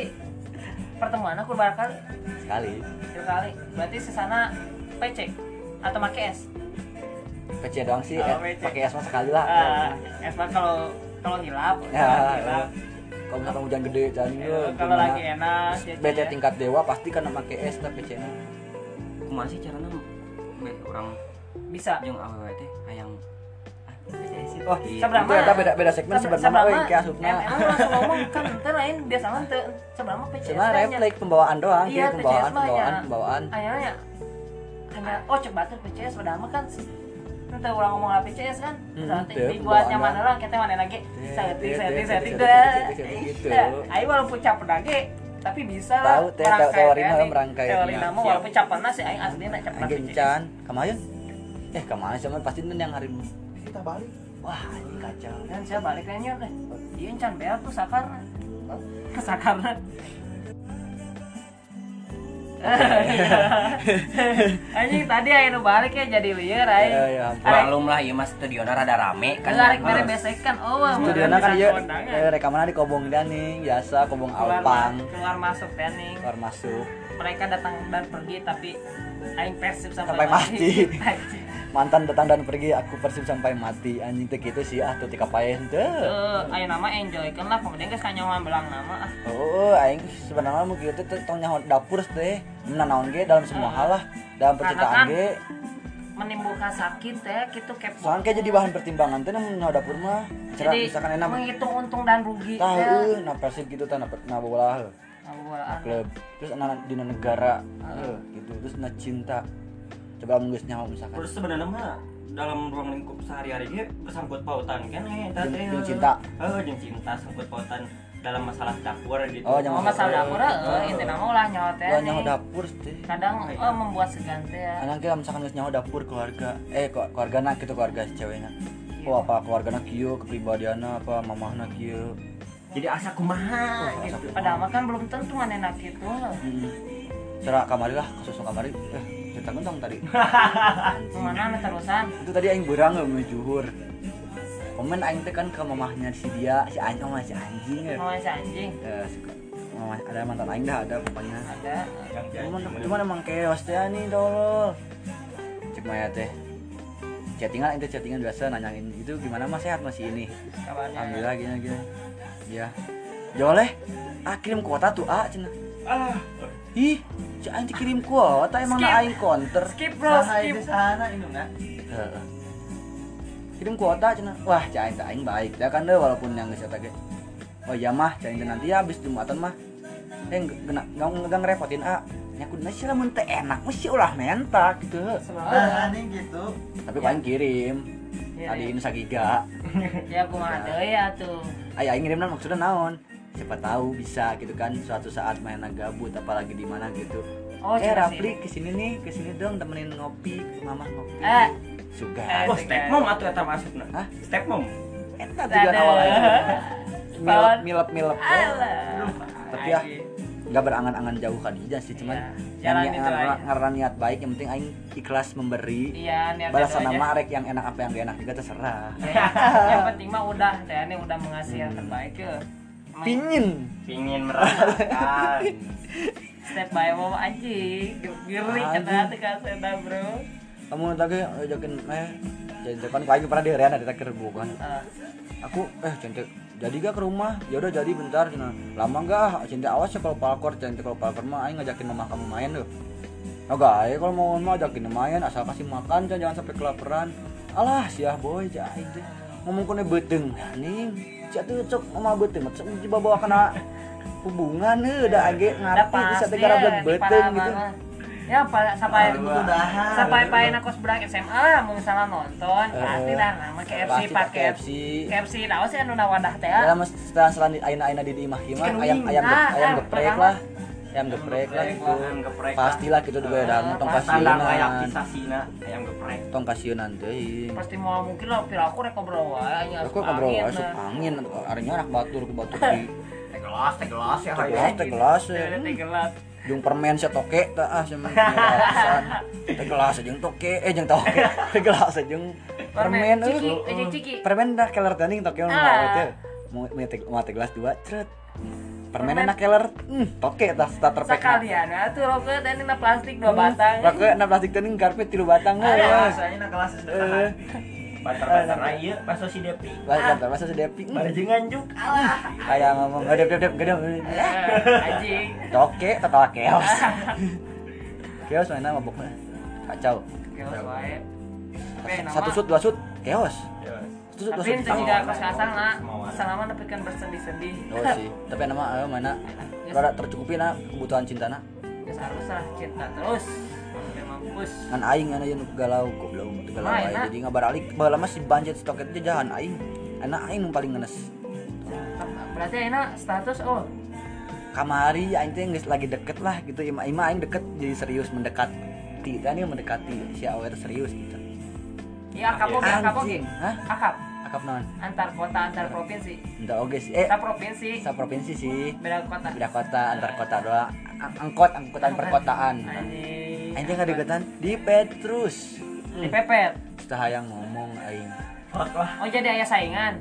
pertemuan aku berapa kali
sekali
tiga kali berarti sesana PC atau make es
kecil doang sih
Oh,
eh,
becek.
pakai esma sekali lah
Ah, es mah kalau kalau hilap
iya. Ya, iya,
kalau hilap
kalau misalkan hujan gede jangan
Eh,
dulu
kalau lagi enak ya,
bete
ya.
tingkat dewa pasti kan pakai es tapi cina
kumaha sih caranya be orang
bisa
jeung awewe teh hayang ah, beda sih.
oh
Gitu.
Sabrama.
itu eta beda beda segmen
Sabra-
sebenarnya oh
Sabrama,
yang asupna
em- emang langsung ngomong kan ntar lain biasa mah teu seberapa PCS
cuma refleks pembawaan doang
Iya,
iya, pembawaan
PCS mah
pembawaan
ya.
pembawaan
hanya hanya oh cek batur PCS padahal mah kan nanti orang ngomong apa PCS kan
Hmm,
nanti
teu, bawaan
dibuat nyaman
dah.
orang kita mana lagi
Teu,
setting
teu,
setting
teu,
setting
teu,
dah
teu, teu, teu, gitu.
Dah. ayo walaupun capek lagi tapi bisa lah
Tahu, teh, tahu,
merangkai
teori mah
teh,
merangkai.
teori nama
Siap.
walaupun capek sih aing asli nak capek
Angin
PCS
Chan, kemarin? Eh kemarin cuman pasti itu yang hari kita balik. Wah ini kacau.
dan saya balik nanya deh iya can bear tuh sakar kesakar anjing tadi ayo balik ya jadi liar aing
Ya, ya, ampun.
Arek-
Malum lah, iya ieu mah studiona rada rame kan.
Kan
Heeh.
mere besekan. Oh, wah,
Studiona kan
bisa
iya
kondangan.
eh, rekaman di Kobong Daning, biasa Kobong
keluar,
Alpang,
keluar masuk planning.
keluar masuk.
Mereka datang dan pergi tapi aing persib sampai,
Sampai mati.
Mati.
Mantan datang dan pergi, aku persib sampai mati. Anjing teh gitu sih, ah tuh tika payen teh.
Eh, ayo nama enjoy kan lah kemudian geus kanyawan belang nama ah.
Oh, aing sebenarnya mau kieu teh tong nyaho dapur teh. Menanaon ge dalam semua hal lah, dalam percintaan
Karena kan-
ge.
menimbulkan sakit teh gitu kepo
soalnya kayak jadi bahan pertimbangan teh namun nyawa dapur mah cara
jadi iya.
misalkan enak
menghitung untung dan rugi ya.
tahu
teh.
eh, nah persib gitu tah nah per- nah bola heuh,
Awalan.
nah klub terus anak di negara
Ah.
heuh, gitu terus nah cinta coba menggeus nyawa misalkan
terus sebenarnya mah dalam ruang lingkup sehari-hari dia bersangkut pautan kan ya eta
Jeung-
teh.
jeung cinta.
oh jeung cinta sangkut pautan dalam masalah dapur gitu
Oh, jangan
Oh, masalah dapur eh itu nama ulah nyawa teh.
Ulah nyawa
nih.
dapur Iya. teh
Kadang eh, membuat segan teh ya.
anak kita misalkan geus nyawa dapur keluarga eh ko- keluarga nak gitu keluarga si ceweknya oh apa keluarga nak kieu kepribadianna apa mamahna kieu
jadi asa
Oh,
kumaha
iya.
gitu
Padahal mah kan belum tentu gitu. manena kitu.
Mm-mm. cara kamari lah kasus kamari eh cerita gentong tadi
Kemana anu terusan?
itu tadi aing berang mau juhur komen aing teh kan ke mamahnya si dia si anjing sama si anjing ya
Mau si anjing.
Eh, suka mamah ada mantan aing dah ada pokoknya
Ada.
Yang jadi
cuman cuman emang keos teh nih tolol cek maya teh chattingan itu chattingan biasa nanyain itu gimana mas sehat masih ini
Kabarnya.
alhamdulillah gini gini ya joleh ah kirim kuota tuh ah cina
ah
ih si anjing kirim kuota emang
Skip.
na aing counter
Skip bro, skip.
sana ini nggak
Heeh. kirim kuota cina wah cah aing teh aing baik ya kan deh walaupun yang geus eta ge. oh iya mah cah aing teh nanti ya habis jumatan mah eh nggak nggak- nggak ngerepotin ah ya kudu sih lamun teh enak mesti ulah mentak gitu
Ah,
Semangat.
aneh gitu
tapi paling
Iya.
kirim tadi ini sagiga
Ya kumaha deui ya tuh.
ayah aing ngirim maksudnya naon siapa tahu bisa gitu kan suatu saat mainan gabut apalagi di mana gitu
Oh,
eh
cuma
Rapli kesini nih kesini dong temenin ngopi mama ngopi
Eh,
suga
Eh.
oh step mom atau eta maksudna
Hah?
step mom
eta tujuan awalnya milep milep milep
Ah. alah.
tapi ya nggak berangan-angan jauh kan aja sih cuman
Iya,
yang
jalan
niat-
itu aja.
ngarana- ngarana niat baik yang penting aing ikhlas memberi
Iya, niat
balasan
itu aja.
nama arek yang enak apa yang gak enak juga terserah
Ya, yang penting mah udah teh ini udah mengasih yang terbaik ya. Emang
pingin
pingin merasakan
Iya.
step by mom aja geri
Anjing.
kata hati kaseta bro
kamu lagi ajakin eh jadi kan aing pernah di Riana di Taker bukan
Eh,
aku eh centek jadi gak ke rumah ya udah jadi bentar cina lama gak centek awas ya kalau palkor centek kalau palkor mah aing ngajakin mama kamu main tuh Oke, kalau mau mah ajakin main asal kasih makan Cen, jangan sampai kelaparan. Alah, siah boy, cah aing teh. Ngomong kene beteng, nih. Cah tuh cok mama beteng, cok tiba bawa kena hubungan eh, heuh da age
udah
ngarti
pas
bisa teh
deh,
gara
di
beteng
Palembang
gitu.
mah. ya pa- sampai
udahan
sampai pain aku seberang SMA mau salah nonton pasti
Eh,
nah, dah nama KFC
pasti
pakai
KFC.
KFC naon sih anu wadah teh ah?
Ya mas setelan setelan di aina aina di di imah imah
Chicken
ayam
wing.
ayam gep-
Ah,
ayam
ah,
geprek
pertama.
lah ayam geprek lah
geprek
gitu
lah, ayam geprek lah.
pastilah gitu juga ada
Ah,
tong
pasti.
standar layak
kasiunan
kisah sina ayam geprek
tong kasiunan teh
pasti mau mungkin lah pira aku rek ngobrol wae eh. nya
aku ngobrol wae asup ah, angin arinya anak batur ku batur di
teh gelas teh gelas ya
teh
hayang.
gelas teh gelas ya.
teh gelas
jeung permen sia toke teh ah sia pisan teh gelas jeung toke eh jeung toke teh gelas jeung permen
permen ciki
eueuh.
eh, ciki
permen dah keler tanding toke mah
Ah.
mau teh mau mau teh- mau teh gelas dua ceret permen enak keler hmm, toke tah starter pack na.
sekalian atuh roket ini na plastik dua batang
Pakai enam plastik tanding karpet tilu batang
Ah, ya,
lah.
rasanya nak kelas
Eh,
sederhana
banter-banter aja pas si Depi
lah masa sedepi.
barengan juk alah
Kayak ngomong gede gede gede.
Eh, anjing
Oke, ketawa keos. Keos mana maboknya? Kacau.
Keos wae. Tapi nama-
Iya, Satu shoot, dua shoot, keos. Satu shoot, dua
Tapi
shoot.
itu juga
keos.
kasar lah. Selama nepikan bersendi-sendi.
Oh sih, tapi nama eh, mana? Rada tercukupi na kebutuhan cinta na.
Geus harus Ya, lah cinta terus. Sampai mampus.
Ngan aing ngana yang galau goblok teu galau.
Nah,
aing.
enak.
Jadi ngabaralik baheula mah si banjet stoket teh jahan aing. Enak aing nu paling ngenes.
Berarti enak status oh.
kamari aing teh geus lagi deket lah gitu ima ima aing deket jadi serius mendekati kan ya mendekati si awet serius gitu
Iya akap oge, akap oge.
anjing hah
Akap
akap naon
antar kota, antar provinsi.
entah oge sih eh
Sa provinsi,
sa provinsi sih
beda kota.
beda kota antar kota doang Ang- angkot angkutan perkotaan
Anjing.
aing teh ngadeketan di Petrus
Di pepet.
tah hayang ngomong aing
fuck lah
Oh jadi ayah saingan.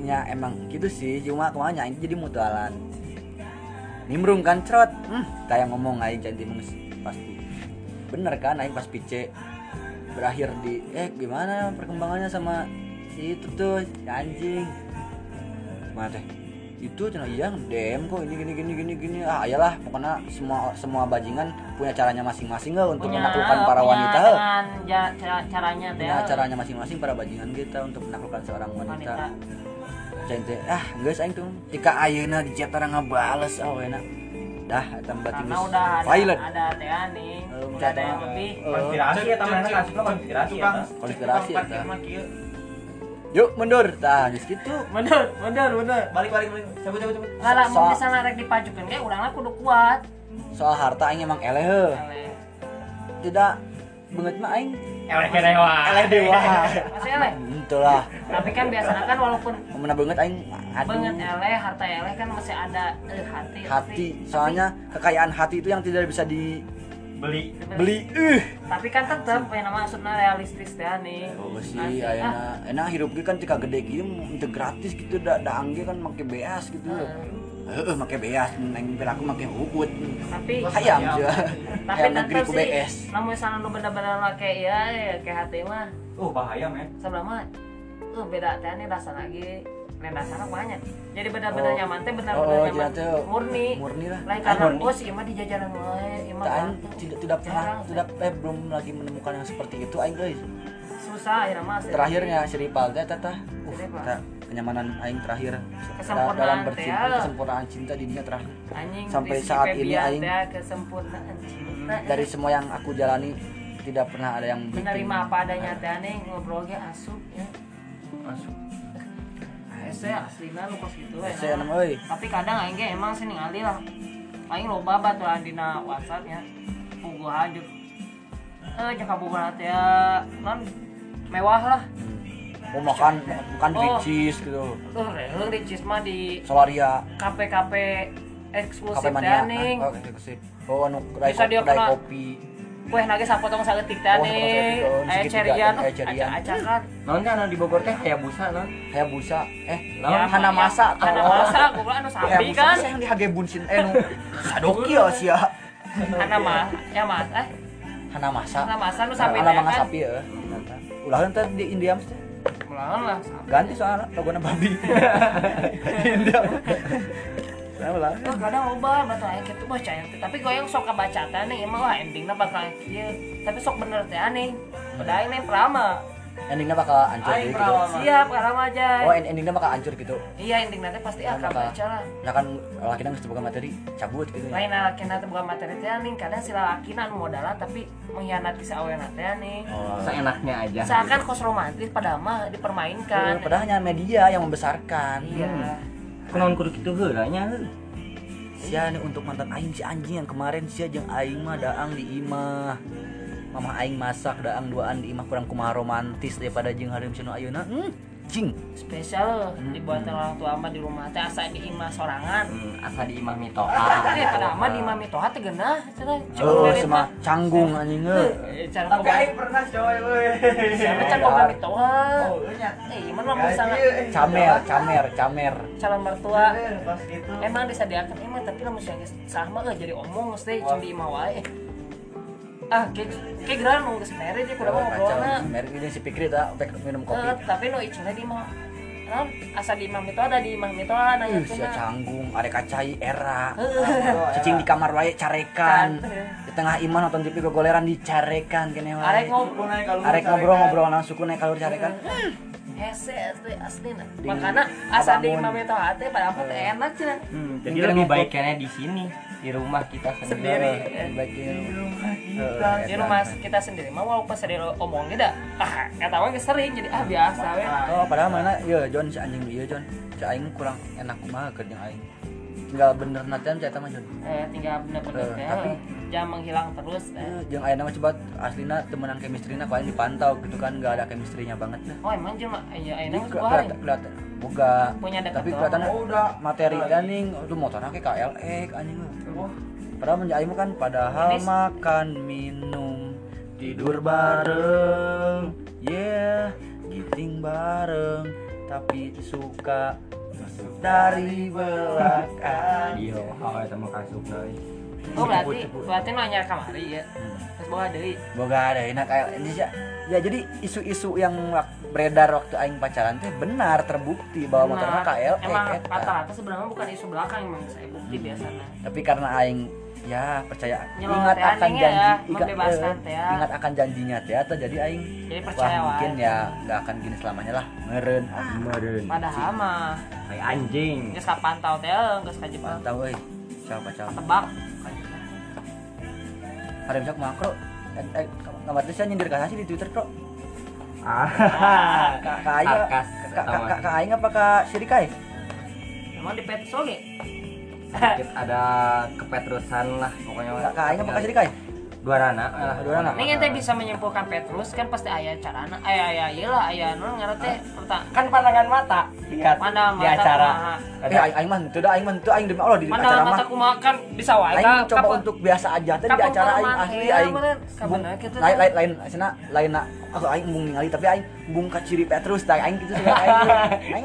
nya emang gitu sih cuma kemana aing jadi mutualan nimbrung kan cerot hmm, tah hayang ngomong aing jadi mengus pasti bener kan aing pas pice berakhir di eh gimana perkembangannya sama si itu tuh si anjing gimana teh itu cina iya DM kok ini gini gini gini gini ah iyalah pokoknya semua semua bajingan punya caranya masing-masing nggak untuk menaklukkan para
punya
wanita heuh.
dengan ja- cara- caranya teh
punya caranya masing-masing para bajingan kita untuk menaklukkan seorang wanita.
wanita
Cai teh ah geus aing tuh jika ayeuna di chat orang ngebales awena. ah, Dah eta berarti
karena
geus
udah ada
violent.
ada teh nih
Eh,
udah ada yang lebih Oh.
Eh,
Konspirasi ya teman kasih konspirasi ya.
Konspirasi, eta. yuk mundur tah geus kitu.
mundur mundur mundur
Balik balik balik. Cabut cabut cabut.
nggak lah mau
So-
kesana rek dipajukan kayak urangnya kudu kuat
Soal harta aing emang eleh heuh. Tidak banget mah aing.
Eleh dewa. Eleh dewa.
masih eleh
Henteu lah.
tapi kan biasanya kan walaupun
Kemana banget aing aduh
banget eleh harta eleh kan masih ada eh, hati
hati.
tapi-
Soalnya kekayaan hati itu yang tidak bisa dibeli.
Beli.
Uh.
Gitu. tapi kan tetap yang nama maksudnya realistis teh nih
Oh sih,
Nanti, ah,
ayeuna enak hirup ge kan tika gede gitu, untuk gratis gitu, da da angge kan make beas gitu.
Ah.
Heeh, make beas, neng piraku make hubut.
tapi
Hayam
Hayam.
sih.
tapi
Hayam negeri
tetap
ku
sih
BS.
namun sana nu bener-bener lah kayak ya ya, kayak hati mah
Oh bahaya men.
sebelah mah eh, beda teh nih rasa lagi lain rasanya banyak jadi bener-bener
Oh.
nyaman teh bener-bener
Oh,
nyaman
jadi teh
murni
Murni lah.
lain
Ah,
karena
murni.
bos ima di jajaran lain ima
Taan
ganteng.
tidak tidak pernah
Jarang,
tidak eh belum lagi menemukan yang seperti itu aing guys.
susah akhirnya mas
Terakhirnya si Ripal teh tata. Uh,
Ripal.
tah, kenyamanan aing terakhir
Kesempurnaan
dalam
teh,
bercinta
ya.
kesempurnaan cinta di dunia terakhir
anjing
sampai
Rizky
saat ini
Febian
aing Hmm,
teh kesempurnaan cinta
dari gitu. semua yang aku jalani tidak pernah ada yang bikin-
menerima apa adanya teh nih ngobrol ge asup ya
masuk
Ese aslina lu pas gitu we,
Ese,
nah.
enem, euy.
Tapi kadang aing ge emang sih ningali lah. Aing loba baturan dina WhatsApp nya. Puguh aja. Eh jeung kabogohan teh non mewah lah.
Hmm. mau makan bukan
Oh.
ricis gitu
Tuh reueung di Cisma di
solaria
KPKP
kafe
eksklusif teh
mania
ning.
Ah, oke, eksklusif. oh anu kedai
Bisa
kopi
dia
kedai
kena-
kopi
Kueh nage sapotong saeutik teh
Oh, sapotong
ning.
saeutik, oh,
Aya
segitiga,
cerian,
aya cerian.
acak-acakan.
non kan anu di Bogor teh Hayabusa non
hayabusa eh
Lawan
Ya,
hana
ya,
masa
Hana Masa, gua bilang anu sapi
Hayabusa
kan.
masa yang di hage bunsin eh nu sadoki ya sia
Hana Mas, ya Mas. Eh,
hana masa
Hana Masa nu sapi
ala
teh
mangga
kan.
sapi ya ulah teh di India mesti
Mulaun lah. sapi.
ganti soalnya logona babi di India Nah, ulah.
Wah kadang loba batu aing kitu mah cayang teh. Tapi goyang sok kabacata nih emang wah endingna bakal kieu. Tapi sok bener teh aneh. Udah aing nih prama.
endingnya bakal hancur
Aing
gitu
perawan.
Siap prama
oh
aja.
end- endingnya bakal hancur gitu
Iya endingna teh pasti ah
Prama kah?
kabaca lah.
nah kan laki nggak buka materi cabut gitu ya
Lain lalakina teh bukan materi teh nih kadang si lalakina nu modalna tapi mengkhianati saweuna teh nih.
Oh.
seenaknya aja
Seakan kos romantis padahal mah dipermainkan.
Iya, Padahal Hmm. hanya media yang membesarkan.
Kan? Iya.
kunaon kudu kitu heula nya heuh.
Sia nih untuk mantan aing si anjing yang kemarin sia jeung aing mah daang di imah. Mama aing masak daang duaan di imah kurang kumaha romantis daripada jeung hareum cenah ayeuna. Hmm, cing.
Spesial
Hmm.
dibuat orang tua mah di rumah teh asa di imah sorangan.
Hmm, asa di Imam Mitoa
Eh, padahal mah di mami toha teh geunah cenah.
Oh, semah canggung anjing euy.
Eh, cara
Tapi
ngomong-
aing pernah coy euy.
Siapa
Eh,
can
Dar.
boga mitoha?
Oh, lu nya.
Eh, iman lah misalnya
Camer, camer, camer.
calon mertua
Pas gitu.
emang disediakan emang tapi lah mesti geus sah mah eh, jadi omong mesti cuma di imah wae. Ah, kayak kayak geran mau geus married ya kudu mah ngobrolna.
Merek ini si Pikri tah pek minum kopi.
Eh, tapi nu icingna di imah. Naon? Asa di imah mitoha ada di imah mitoha ada
Uh,
yang
sia canggung, ada kacai era.
Eh,
Oh,
Cicing di kamar wae carekan.
Carekan.
Di tengah imah nonton TV gogoleran dicarekan kene wae.
Arek
Lu
ngobrol
naik kalau
Arek
mau
ngobrol
carikan.
ngobrol langsung naik kalur carekan.
hese teh aslina.
Di-
Makana asa di
Abamun.
imah mitoha teh padahal mah teh enak cenah.
Hmm,
Mungkin
jadi lebih
emang-
baik kayaknya di sini di rumah kita sendiri
Sendiri.
Eh, dibaikin.
Kita
di rumah kita sendiri mah walaupun sering omongin dah ah kata orang sering jadi ah biasa we
Oh, padahal mana ya John si anjing ieu John. Si aing kurang enak kumaha keur jeung aing. Tinggal bener natan si eta mah John.
eh, tinggal bener-bener
Eh,
teh
tapi-
jangan menghilang terus eh.
Eh, Jeung ayeuna mah coba aslina temenan chemistry-na ku aing dipantau gitu kan enggak ada chemistry-nya banget dah.
oh emang cuma ya ini
Jadi
sebuah
kelihatan kelihatan boga
Punya deket
tapi
doang.
kelihatan
Oh, udah.
materi
Udah.
daning aduh motorna ke KLX E, anjing mah.
Wah,
Padahal menjadi aing mah kan padahal
Ini-
makan minum tidur bareng yeah giting bareng tapi suka masuk dari belakang
iya oh, itu mau kasih guys
oh berarti berarti nanya kamari ya
Hmm.
terus bawa deui
Boga ada enak kayak ini sih. Ya jadi isu-isu yang wak- beredar waktu aing pacaran teh benar terbukti bahwa motorna
Benar.
KL
emang rata-rata sebenarnya bukan isu belakang emang saya bukti biasanya
Tapi karena aing ya percaya
Nyelotean
ingat akan
aing ya,
janji ingat,
membebaskan
eh,
teh ya.
ingat akan janjinya teh atau jadi aing
jadi
wah
percaya
mungkin
wae.
ya nggak akan gini selamanya lah meren ah,
Meren.
padahal mah
Hai anjing.
geus kapantau teh geus ka Jepang
mantap euy eh, siapa siapa
tebak
hari besok makro eh, eh kamar teh saya nyindir kasih di Twitter kok
Ah.
kak kak aing
Sarkas,
kak
atau
eh.
kak kak aing apa kak Sirikai
emang di pet soge
sedikit ada kepetrusan lah pokoknya.
eh.
kak kak aing apa kak Sirikai
Dua rana.
Ah, dua rana.
Nih ente bisa menyimpulkan Petrus kan pasti ayah carana, iya ayah ayah iyalah ayah non ngarep teh perta-
Kan pandangan mata lihat
Pandang
Iya, di
mata Iya.
acara.
kumaha.
Eh, aing aing mah henteu da aing mah henteu aing demi Allah di acara
Pandangan
mah.
mata kumaha kan bisa wae
Aing
ka
coba
kapun-
untuk biasa aja tadi di
kapun
acara aing
perumahan,
asli
iya,
aing.
bener. Ka
Bung-
bener kitu
Lain
teh.
lain lain sana lain na aku aing mung ningali tapi aing bung ka ciri Petrus tah aing gitu suka aing.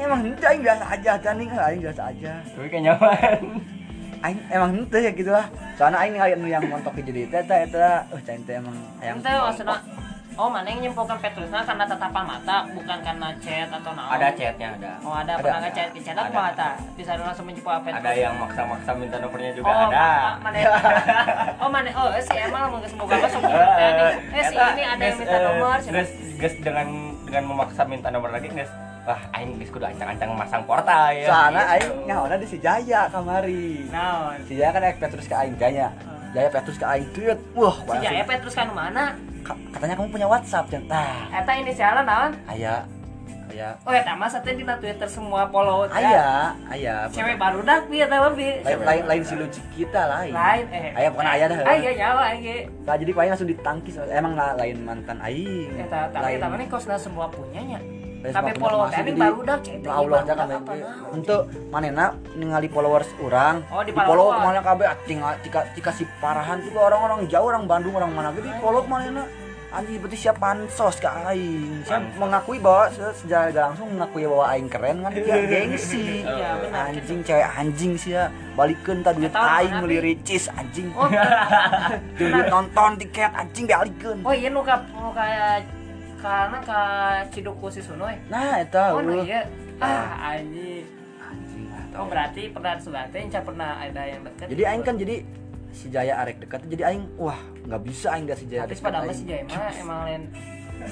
Aing emang henteu aing biasa aja tah nih aing biasa aja.
Tapi kenyaman.
Aing emang henteu ya gitu lah. Soalnya aing ningali anu yang montok di jadi eta eta euh cai teh emang hayang.
Ente maksudna Oh, mana yang nyimpulkan Petrusna karena tatapan mata, bukan karena chat atau naon.
Ada chatnya ada.
Oh, ada,
Ada.
pernah ngechat ke chat
Ada.
kumaha tah? Bisa langsung menyimpulkan Petrus.
Ada yang maksa-maksa minta nomornya juga
oh,
ada.
ma- Mana, oh, mana, oh, si Emal mau semoga apa semoga Eh, si ini ada yang minta nomor. si-
Guys, guys dengan dengan memaksa minta nomor lagi guys. Wah, aing geus kudu ancang-ancang masang portal ya.
Soalnya aing
Gitu.
nyaona di si Jaya kamari.
Naon?
Si Jaya kan ek Petrus ke aing Jaya. Jaya Petrus ke aing tuyut. Wah,
Si Jaya
langsung-
Petrus kan mana?
Ka- katanya kamu punya WhatsApp yang tah.
Eta inisialnya naon?
Aya, aya,
Oh eta mah sate dina Twitter semua follow
Ah,
teh.
aya, aya.
Cewek baru dak pieu teh mah bi.
Lain, lain, lain si lucu kita lain.
Lain eh. ya,
Aya bukan aya dah.
Aya nyawa aya ge.
Nah, jadi paling langsung ditangkis. Emang lah lain mantan aing.
Eta tapi
Lain- Eh,
eta mah nih kosna semua punyanya.
lain
tapi
semua
follow
masuk,
teh
jadi
baru dak cewek
Ya Allah jangan lain
apa nah.
ieu.
naon.
Untuk manena ningali followers orang,
Oh, di
di follow
follow.
kemana kabeh ating tika tika si parahan juga orang-orang jauh orang Bandung orang mana gitu di follow manena. Anjir berarti siap pansos ke aing. Saya
Pansos.
mengakui bahwa se- secara nggak langsung mengakui bahwa aing keren kan dia gengsi.
Iya benar.
anjing cewek anjing sih ya balikeun tah duit
Eta orang
aing
mana,
beli
Pi?
ricis anjing
Oh,
duit nonton tiket anjing balikeun
oh iya nu ka nu ka karena ka Ciduku si Sunoy.
nah eta
Oh
eueuh.
nu iya. Ah anjing.
anjing lah
Oh berarti pernah sudah teh enca pernah ada yang deket.
jadi aing kan jadi si Jaya arek dekat jadi aing wah nggak bisa aing gak si Jaya
tapi
dekat,
pada
kan aing.
mah si Jaya mah emang lain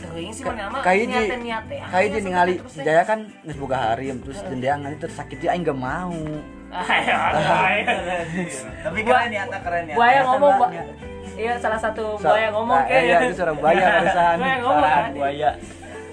teuing sih
Ka-
mana mah
kayak
niatnya
di-
niat teh.
Kayak
Akhirnya
jeung ningali
sampai
si
terus
Jaya kan geus boga harim terus jendeang nanti tersakiti aing gak mau.
Ayo, ayo.
Tapi keren ya, tak keren ya.
Buaya ngomong,
Ba-
Ba- Iya, salah satu
Sa-
buaya ngomong
Nah, iya,
kayaknya.
itu suara buaya barusan.
Buaya ngomong
Parah
kan.
ya.
buaya.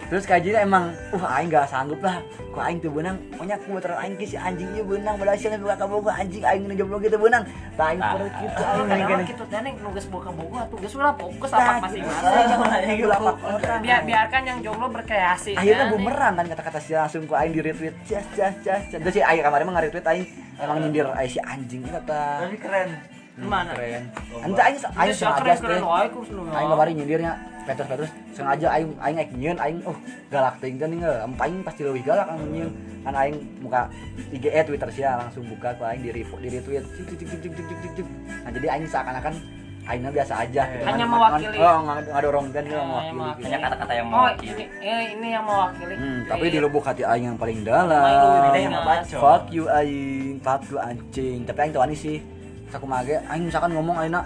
Terus kajina emang, uh aing gak sanggup lah. Ku aing teu beunang, pokoknya ku motor aing ke si anjing ieu beunang berhasil buka kaboga anjing aing nu jomblo gitu beunang. Tah aing perut kitu
Kalau
aing
kadang
gini.
gitu teh nih nugas buka bogo atuh geus ulah fokus
Tah,
apa masing-masing.
gitu. Lapak orang.
Biar biarkan yang jomblo berkreasi.
akhirnya
ya, nih.
bumerang kan kata-kata si langsung ku aing di retweet jas jas jas jas terus si aing kemarin mah retweet aing emang nyindir aing si anjing ini kata
Tapi keren.
Mana?
keren ente aing
Ayo
aing sengaja
keren
teh
wae ku nu.
aing kemarin nyindirnya petrus petrus sengaja aing aing aing nyeun aing oh galak teuing teh ninggeu aing pasti leuwih galak aing nyeun kan aing muka IG eh, Twitter sia langsung buka ku aing di revo- di retweet cik cik cik cik cik cik, cik cik nah jadi aing seakan-akan aingna biasa aja gitu
Hanya
Ngan- ngan-
mewakili.
oh ngan- ngadorongkan dia
Oh, yang
mewakili gitu.
Banyak kata-kata yang
Oh,
mewakili.
ini eh, ini yang mewakili.
Hmm, tapi di
Iya.
lubuk hati aing yang paling
Aing
dalam.
teh yang
ngabaco.
Fuck you aing, fuck you anjing. Tapi aing tawani sih. Saku mage aing misalkan ngomong ayeuna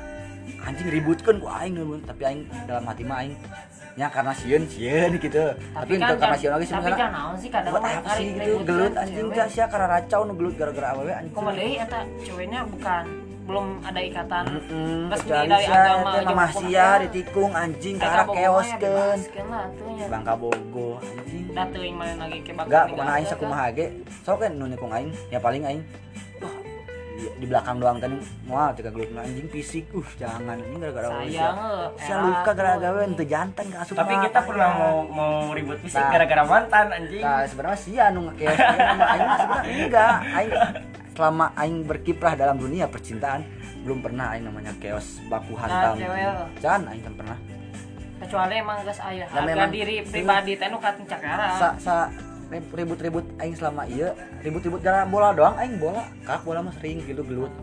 anjing ributkeun ku aing dulu, tapi aing dalam hati mah aing nya karena sieun sieun gitu. Tapi, untuk karena sieun lagi sih
tapi kan
gitu, misalnya.
naon sih kadang
Buat apa sih gitu gelut anjing teh sia karena racau nu gelut gara-gara awewe anjing.
Koma deui eta ceweknya bukan belum ada ikatan
Heeh,
resmi
kecuali
dari
sia
agama
teh
jeung
mah
hukum
sia
agama.
ditikung anjing
Eta
karena
bogoh mah ya
keoskeun.
dibahaskeun lah atunya.
Bangka bogo anjing.
Da teuing mana lagi ke bakal
Enggak,
ninggal
kemana aing
teh, kan.
sakumaha ge. Sok kan nu nikung aing, ya paling aing. Wah, di- di belakang doang tadi wah tiga gelut anjing fisik uh jangan ini gara-gara
Sayang eh. euy.
saya eh. luka gara-gara ente jantan ke asup
Tapi
mah,
kita
apa
pernah
ya?
mau mau ribut fisik
Nah.
gara-gara mantan anjing.
nah sebenarnya sih anu kayak aing mah sebenarnya enggak aing selama aing berkiprah dalam dunia percintaan belum pernah aing namanya chaos baku hantam
Nah, cewek.
jangan aing kan pernah
Kecuali emang geus aya
Nah,
harga
memang-
diri pribadi teh nu katencak
sa sa rib- ribut-ribut aing selama iya ribut-ribut jalan bola doang aing bola kak bola mah sering gitu gelut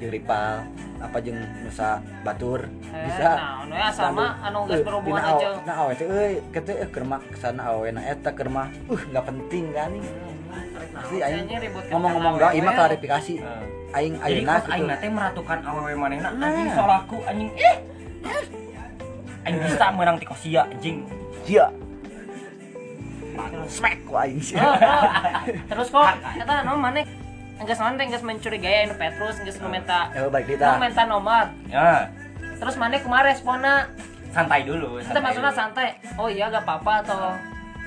jeung rival apa jeung nusa batur
Eh,
bisa
nah, nu ya sama anu
Eh,
geus berhubungan
dina awe-
aja.
dina awe teh euy kitu eh keur mak kesana awe na eta keur mah uh nggak penting kan
Hmm,
Asli, aing ngomong-ngomong doang
Eh.
ima klarifikasi
Nah.
aing
Jadi
ayeuna
kan aing
gitu
nate meratukan awewe manehna
Nah.
anjing solaku anjing eh eh. anjing bisa menang ti kosia anjing.
iya smack ku aing sih
Eh. Terus kok eta anu maneh geus mane geus mencurigai anu Petrus geus nu minta
ya baik
nu
Eh, kita
minta nomor.
Ya,
Terus maneh kumaha responna?
santai dulu.
Kita
santai
maksudnya
dulu.
santai. Oh iya gak apa-apa atau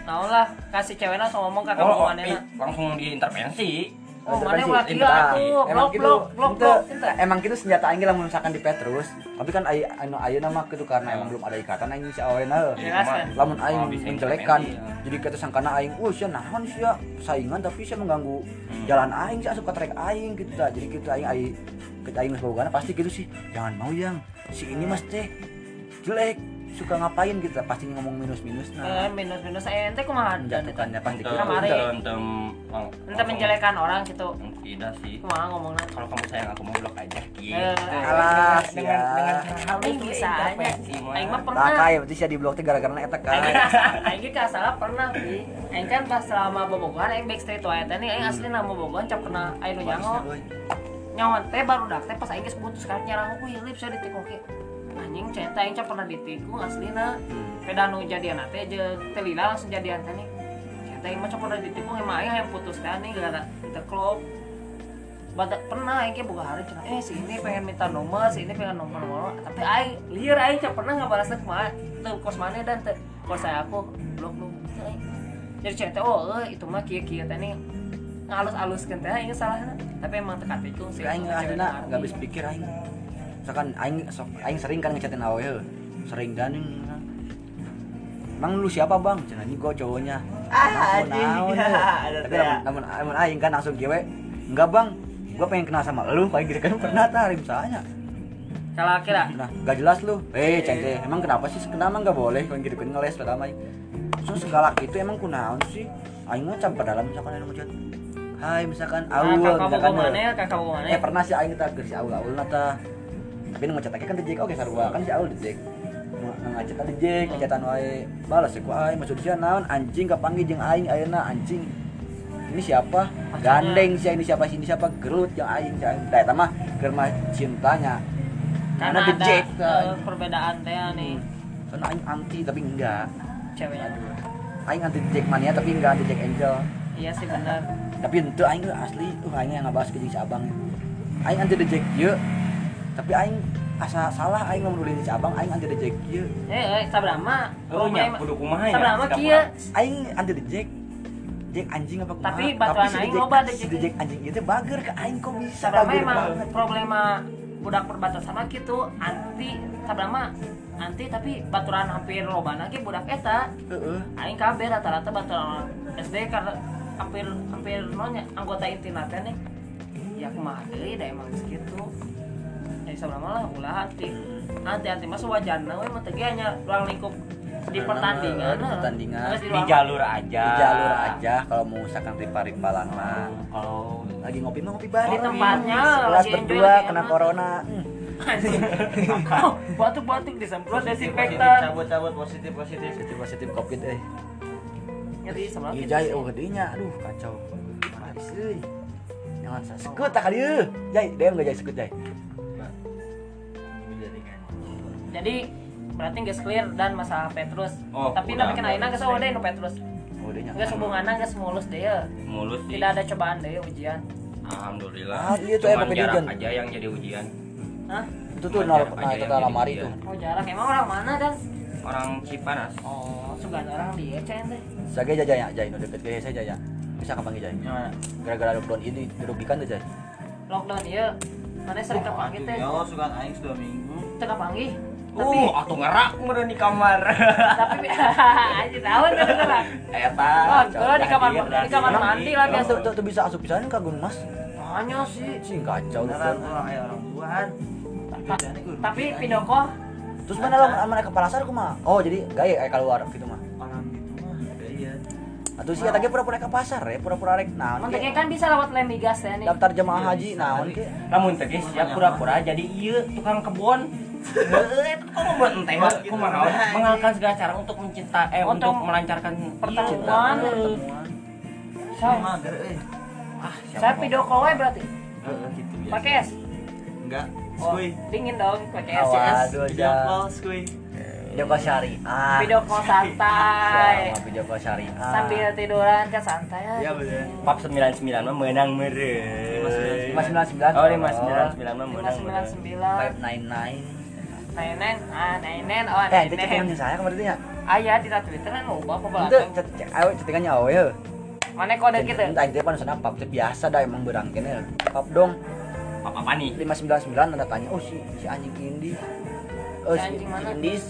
naon lah kasih ceweknya langsung ngomong kakak
Oh, oh,
hubungannya.
eh, langsung diintervensi.
Oh, mana
Intervensi,
ulah gila
intervensi.
tuh, blok
gitu,
blok blok
ente,
blok ente.
emang gitu senjata aing lah misalkan di Petrus tapi kan aing anu ayeuna mah gitu karena emang belum ada ikatan aing si awena
Iya, kan,
Cuma,
kan?
lamun
Oh,
aing
bisa
menjelekan
intervensi, ya.
jadi kata sangkana aing uh sia naon sia saingan tapi sia mengganggu
Hmm.
jalan aing sia asup ke trek aing gitu dah jadi gitu aing aing kita aing sebogana pasti gitu sih jangan mau yang si ini mas teh jelek suka ngapain gitu pasti ngomong minus minus
Eh,
nah
Nah, minus minus saya ente kumaha dan ente.
menjatuhkannya pasti
Ente-
gitu
Kamari.
ente- ente- lang-
Ente
Iya. langsung-
menjelekan orang gitu.
Tidak sih.
Kumaha ngomongnya?
Kalau kamu sayang aku mau blok aja. Gitu.
Eh,
alah,
Dengan- dengan
sia.
dengan cara halus
Aing
tuh
bisa aja.
ya, intervensi, mah.
Aing mah
nah
pernah.
kayak berarti sia di blok teh gara-gara eta
Aing
kan
ka- aing ge ka salah pernah Bi. Aing kan pas selama bobogohan aing backstreet wae teh nih aing asli nama bobogohan cap kena aing nu nyaho. Nyaho teh baru dak teh pas aing geus putus kan nyarang ku hilip saya ditikung ke. Anjing cinta aing cap pernah ditikung aslina. Peda nu jadian teh jeung teh lila langsung jadian teh nih. Cinta aing mah cap pernah ditikung emang aing hayang putus teh nih gara diteklop. Badak pernah aing ke boga hari cenah eh si ini pengen minta nomor, si ini pengen nomor nomor. Tapi aing lieur aing cap pernah ngabalas teh kumaha. Teu kos mana dan teu kos saya aku blok lu. Teu aing. Jadi cewek teh oh eh, itu mah kieu kieu teh nih ngalus-aluskeun teh aing salahna. Tapi emang teu katikung
Si
sih.
aing
Cewek
aslina
teh
nggak habis pikir aing misalkan aing sok aing sering kan ngechatin awe heuh. sering kan Emang lu siapa bang? Cina ini gue cowoknya
Ah,
Naon,
anjing.
naon,
Ya,
heuh.
ada
Tapi
teh.
namun- namun namun aing kan langsung gue Enggak bang, gue pengen kenal sama lu Kayak gitu kan pernah tarik misalnya
Kalau kira
Nah, gak jelas lu Eh, ceng teh, emang kenapa sih? Kenapa nggak boleh? Kayak gitu kan ngeles pada aing So, segala itu emang kunaon sih? Aing mau campur dalam misalkan aing ngechat Hai, misalkan
Nah,
Aul,
kakak
misalkan
bobo
heuh.
mana ya, kakak bobo mana.
Eh pernah sih aing tak si Aul Aul nata. Tapi nu ngechat teh kan dijek oke sarua kan si Aul dijek. Nu nu ngechat teh dijek, ngechatan wae. Balas ku aing maksud sia naon anjing kapanggih jeung aing ayeuna anjing. Ini siapa? Gandeng sih ini siapa sih ini siapa gerut yang aing jeung aing. Da eta mah keur mah cintanya.
Karena
Karena
ada
dijek
eh,
kan.
perbedaan teh nih
Soalnya aing anti tapi enggak.
ceweknya.
Aing anti dijek mania tapi enggak anti Jack Angel.
Iya sih benar.
tapi ente aing ge asli tuh aing yang ngabahas ke jeung si abang aing anti dejek ye tapi aing asa salah aing ngamulin si abang aing anti dejek ye
Eh, eh sabrama.
Oh, nya
Kumaha-
kudu kumaha ya?
Sabrama
Tidak
kieu.
aing anti dejek jeng anjing apa kumaha
Tapi baturan aing loba
si
dejek.
dejek anjing itu bager ke aing kok bisa
Sabrama
bager
emang
banget
problema budak perbatasan mah gitu anti sabrama anti tapi baturan hampir loba lagi budak eta
heeh
aing kabeh rata-rata baturan SD karena hampir hampir nonya anggota inti nate nih ya kumaha deui da emang segitu jadi sabrama lah ulah anti anti anti mah wajarna we mah teh ge nya ruang lingkup di
Nah,
pertandingan
di pertandingan.
Terus di
Di
ruang-
jalur aja.
di jalur aja kalau mau usahakan ripa-ripalan mah
Kalau
lagi ngopi mah ngopi bareng
Di tempatnya,
kelas
lagi
berdua
enjoy, lagi
kena
enak.
corona Hmm.
Anjing. Oh, batuk-batuk disemprot
Iya,
desinfektan
Cabut-cabut positif positif.
positif positif covid eh
jadi sebelah
Iya
gitu
jai,
sih.
oh gedenya, aduh kacau. Maris euy. Jangan sasekut tak kali euy. Jai, DM enggak jai sekut jai.
jadi berarti nggak clear dan masalah Petrus
Oh,
tapi
udah,
tapi kena ina nggak
udah.
selalu deh nu Petrus
Oh, dia
nggak hubungannya nggak semulus deh ya.
mulus sih.
tidak ada cobaan deh ujian
Alhamdulillah.
Ah, iya tuh,
Cuman
emang
jarak
kejadian.
aja yang jadi ujian.
Hah?
Itu tuh nol,
Ajar aja
nah itu
yang
tuh
jadi
lamari
dia.
tuh.
oh jarak emang orang mana dan
Orang Cipanas.
oh sugan orang dia cen deh
Sage jajai ya, jai, nu deket ke saya jai. ya. Bisa kapanggil jai. Gara-gara lockdown ini dirugikan tuh jai.
lockdown iya mana sering kepanggil teh
Ya, suka aing sudah minggu.
teu kepanggih tapi
Oh.
Uh, atuh ngerak meureun di kamar.
tapi aja tahun kan beneran
Eta.
oh
coba
di kamar
hadir,
di kamar
hadir.
mandi lah
Tapi
biasa
tuh tuh bisa asup pisan ka gun mas.
hanya sih
Sih kacau tuh.
Beneran orang aya oh, orang tuaan. Bedanya guru.
tapi pindoko
Terus mana lah mana ke pasar kumaha? Oh, jadi gawe aya keluar eh, gitu mah.
orang gitu mah ada iya.
atau sih tadi pura-pura ke pasar ya pura-pura rek nah
Menteknya kan bisa lewat lem migas ya nih.
daftar jemaah haji
iya.
nah
namun tadi siap pura-pura jadi iya tukang kebon Heeh, kok membuat enteh mah kumaha mengalahkan segala cara untuk mencinta eh untuk,
Untuk
melancarkan Iya,
pertemuan.
cinta.
Sama mager eh. euy.
Ah, siapa
Saya
mau-
video call aja berarti.
Heeh, gitu biasa.
Pakai es.
Enggak. Iya,
Oh,
Skuy.
dingin dong pakai es. ya, es.
waduh
Video
ya
call skuy.
video call syariah
Video call santai.
Sama video call syariah
Sambil tiduran kan santai
Iya
ya.
bener.
Pap 99 mah menang mere. Oh, 599
599.
mah menang mere.
599
599
Nenen, ah nenen, oh
eh itu cetingan
nenen.
saya kemarin tuh ya
Ayah di Twitter kan ubah apa
itu
belakang.
cet- awe cetingannya awe ya
Mana kode kita?
entah itu pan sana pap teh biasa dah emang berang kene pap dong
Apa apa nih?
599 tanda tanya oh si si anjing Indi oh
Si
si
anjing mana?
Indis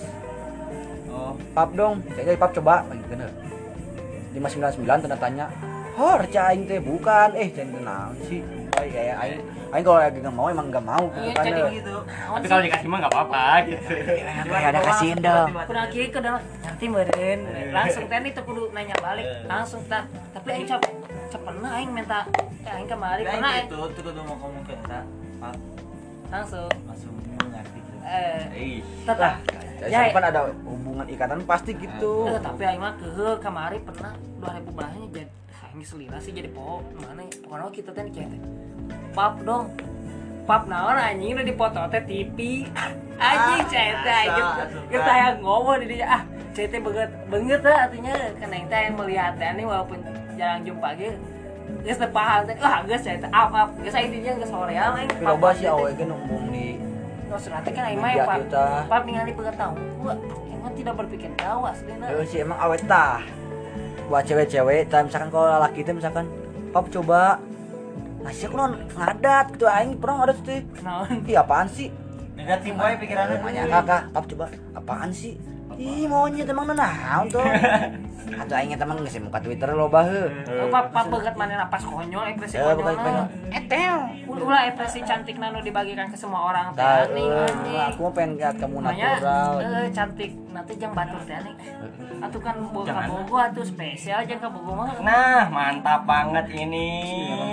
Oh,
pap dong saya jadi pap coba gitu, lagi kena 599 tanda tanya hor cah aing teh bukan eh cah teh naon sih Woy, kayak aing aing kalau lagi nggak mau emang nggak mau
Iya,
kan
jadi
eh.
gitu.
Tapi kalau dikasih mah enggak apa-apa gitu.
kayak ada kasihin dong
kurang kiri ke dalam nanti meren langsung teh itu kudu nanya balik langsung teh tapi aing cap cap pernah aing minta eh, aing kemari pernah
Nah,
aing
itu tuh kudu mau ngomong ke eta, Pak,
langsung
langsung gitu. mengerti.
eh
Ih,
tetap
ya,
ya
kan ada hubungan ikatan pasti gitu
eh, tapi aing mah keuheuh kemari pernah 2000 belahnya jadi aing selira sih jadi po mana ya? pokoknya kita teh kayak teh pap dong pap naon anjing udah dipoto teh TV anjing
Ah,
cai teh
asa,
anjing
asupan.
kita yang ngomong di dia ah cai teh banget banget lah artinya kan aing teh yang melihat teh ini walaupun jarang jumpa ge geus teu paham teh ah geus cai teh up up geus aya di dia geus hoream aing
tapi loba sih awe ge ngomong di
no surat teh kan aing mah ya
Media
pap
kita.
pap ningali banget tahu gua emang tidak berpikir nah. jauh aslinya
Heeh sih emang awet tah buat cewek-cewek tah misalkan kalau laki teh misalkan pap coba ngasih aku non ngadat gitu aing pernah ngadat tuh
naon
Ih apaan sih?
Negatif wae pikirannya.
Tanya kakak, pap coba apaan sih? Ih monyet emang nenaon tuh Atau aing teman nggak sih muka Twitter lo bah
Papa papa banget mana napas konyol ekspresi
Eh,
konyol.
bukan konyol.
Etel. Ulah ekspresi cantik nanu dibagikan ke semua orang teh
Tah,
nih.
eh, aku mau pengen lihat kamu
Makanya
natural
eh cantik nanti jang batur teh nih. Atuh kan boga
Jangan.
bogo atuh spesial jang ka bogo mah.
Nah, mantap banget ini.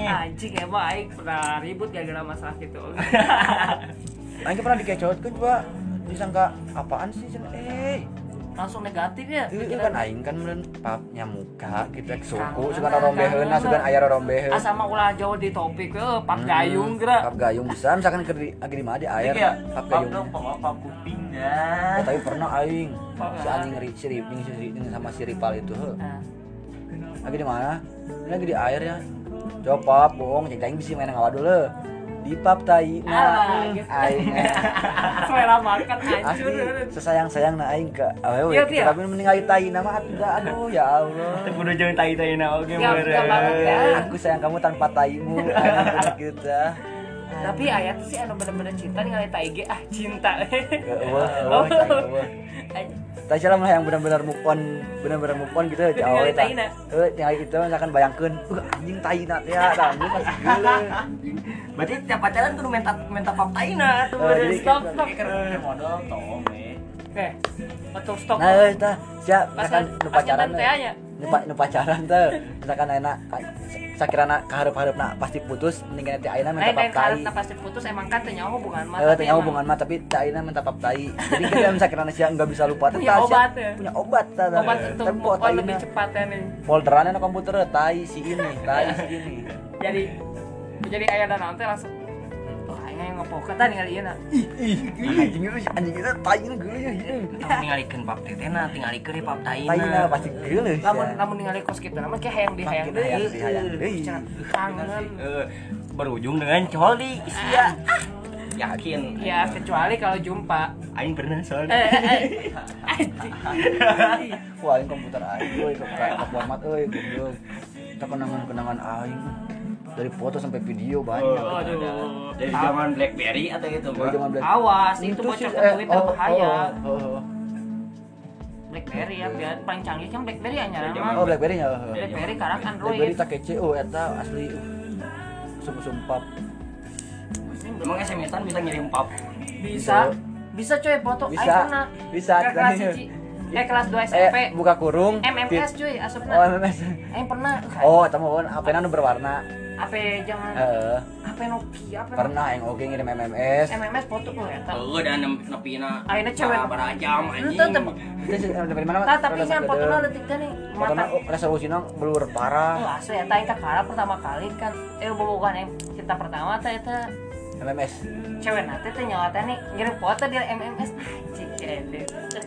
Iya,
Anjing emang aing pernah ribut gara-gara masalah gitu.
Aing pernah dikecot kan coba disangka apaan sih Cenah? eh
Langsung negatif ya.
itu kan aing kan meureun pap nyamuka gitu ek suku
Kangen,
suka rombeheuna
kangen.
suka aya rombeheun
Asama ulah jauh di topik eh pap gayung Iya, geura.
eh, Hmm. Pap gayung bisa misalkan ke di agi di mana di air
ya,
pap
pap
gayung.
dong, pap pap kuping
Eh,
dah.
tapi pernah aing
Pap ya.
si anjing ri, si Riping si Riping sama si Ripal itu heuh.
Nah,
Lagi di mana? Ini lagi di air ya. Coba pap bohong cek aing bisa main ngawa dulu. Di pap tai
Alah,
na
gitu.
aing. eh.
selera makan
Asli
hancur.
sesayang-sayang na aing ke awewe.
Iya, iya.
Tapi mending aing tai na mah atuh dah. aduh ya Allah.
Teu kudu jeung tai-tai na
Iya,
oge
Siap,
mere.
siap banget ya.
Aku sayang kamu tanpa taimu. gitu, Aing kita.
tapi ayah tuh sih anu bener-bener cinta nih ngeliat IG ah cinta
Wah, wah, wah.
Anj-
Oh. Tasya lah yang benar-benar move on, benar-benar move on gitu ya
Tinggal
awal
di Taina.
Eh, tinggal itu misalkan bayangkan, uh anjing Taina teh ya, anjing masih gila.
Berarti tiap pacaran kudu minta minta pap tai na tuh.
Eh, jadi-
stop stop
Keren modal tong eh.
eh untuk stop
Nah, eh tah sia
pas
misalkan nu pacaran eh,
teh
teh.
nya
Nu pa- nu pacaran teh, misalkan ayeuna sakirana kaharep-harepna pasti putus, mendingan teh ayeuna minta
lain
pap
dan
tai.
kalau tak pasti putus emang kan tanya hubungan ya, mah
Eh,
tapi
tanya
emang-
hubungan mah tapi teh ayeuna minta pap tai. Jadi gitu ya, kita sakirana sia enggak bisa lupa teh.
Punya
tah, sia.
obat, ya.
Punya obat tah. tah.
obat untuk
Tempo,
move on
tah,
lebih
ayeuna.
cepat ya nih
Folderan na komputer eh, tai si ini, tai si ini.
jadi jadi ayah dan nanti langsung Wah, ayah yang ngepoket tadi kali iya nak
anjing itu anjing itu tayang gue ya
Tah ningalikeun pap teh na, tinggalikeun di pap tai
tayang
nah.
na.
pasti gue
lamun lamun ningali kos kita namun kayak hayang di hayang
Makin
deh
hayang di hayang deui.
kangen
Eh, berujung dengan coli. Iya. Yakin.
ya kecuali kalau jumpa
Aing pernah
eh
soalnya.
eh, eh. anjing
wah ini komputer aing euy kayak format euy goblok kita kenangan-kenangan aing dari foto sampai video
Oh,
banyak
Aduh.
Dari zaman BlackBerry atau itu,
dari zaman black
eh, Awas,
sih,
itu bocor ke
eh,
Twitter
oh,
bahaya.
oh, oh, oh.
BlackBerry ya, biar paling canggih kan BlackBerry ya nyala.
Zaman
oh blackberry nya oh, oh.
BlackBerry karena
blackberry
Android.
tak kece oh eta asli sumpah-sumpah
Emang SMS-an bisa ngirim pap?
Bisa, bisa coy foto.
Iya. bisa
iPhone
bisa
Kakak Cici. eh kelas 2 SMP
eh buka kurung
MMS
tit-
cuy asupna
oh MMS
aing Eh, pernah
oh eta mah apa anu berwarna
apa jangan
heeh
apa Nokia apa
pernah yang oke ngirim MMS
MMS foto nu eta
Gue udah nem-
Ah,
nepina
Akhirnya cewek- Hmm,
Sabar jam anjing
Itu tem-
terus eh, dari mana
Tah, tapi kan foto nu leutik teh nih
karena
mata
resolusinya blur parah
Wah, asli eta aing teh kalah pertama kali kan eh bobogan yang cinta pertama teh eta
MMS
cewek nanti teh nyawa teh nih ngirim foto di MMS anjing kene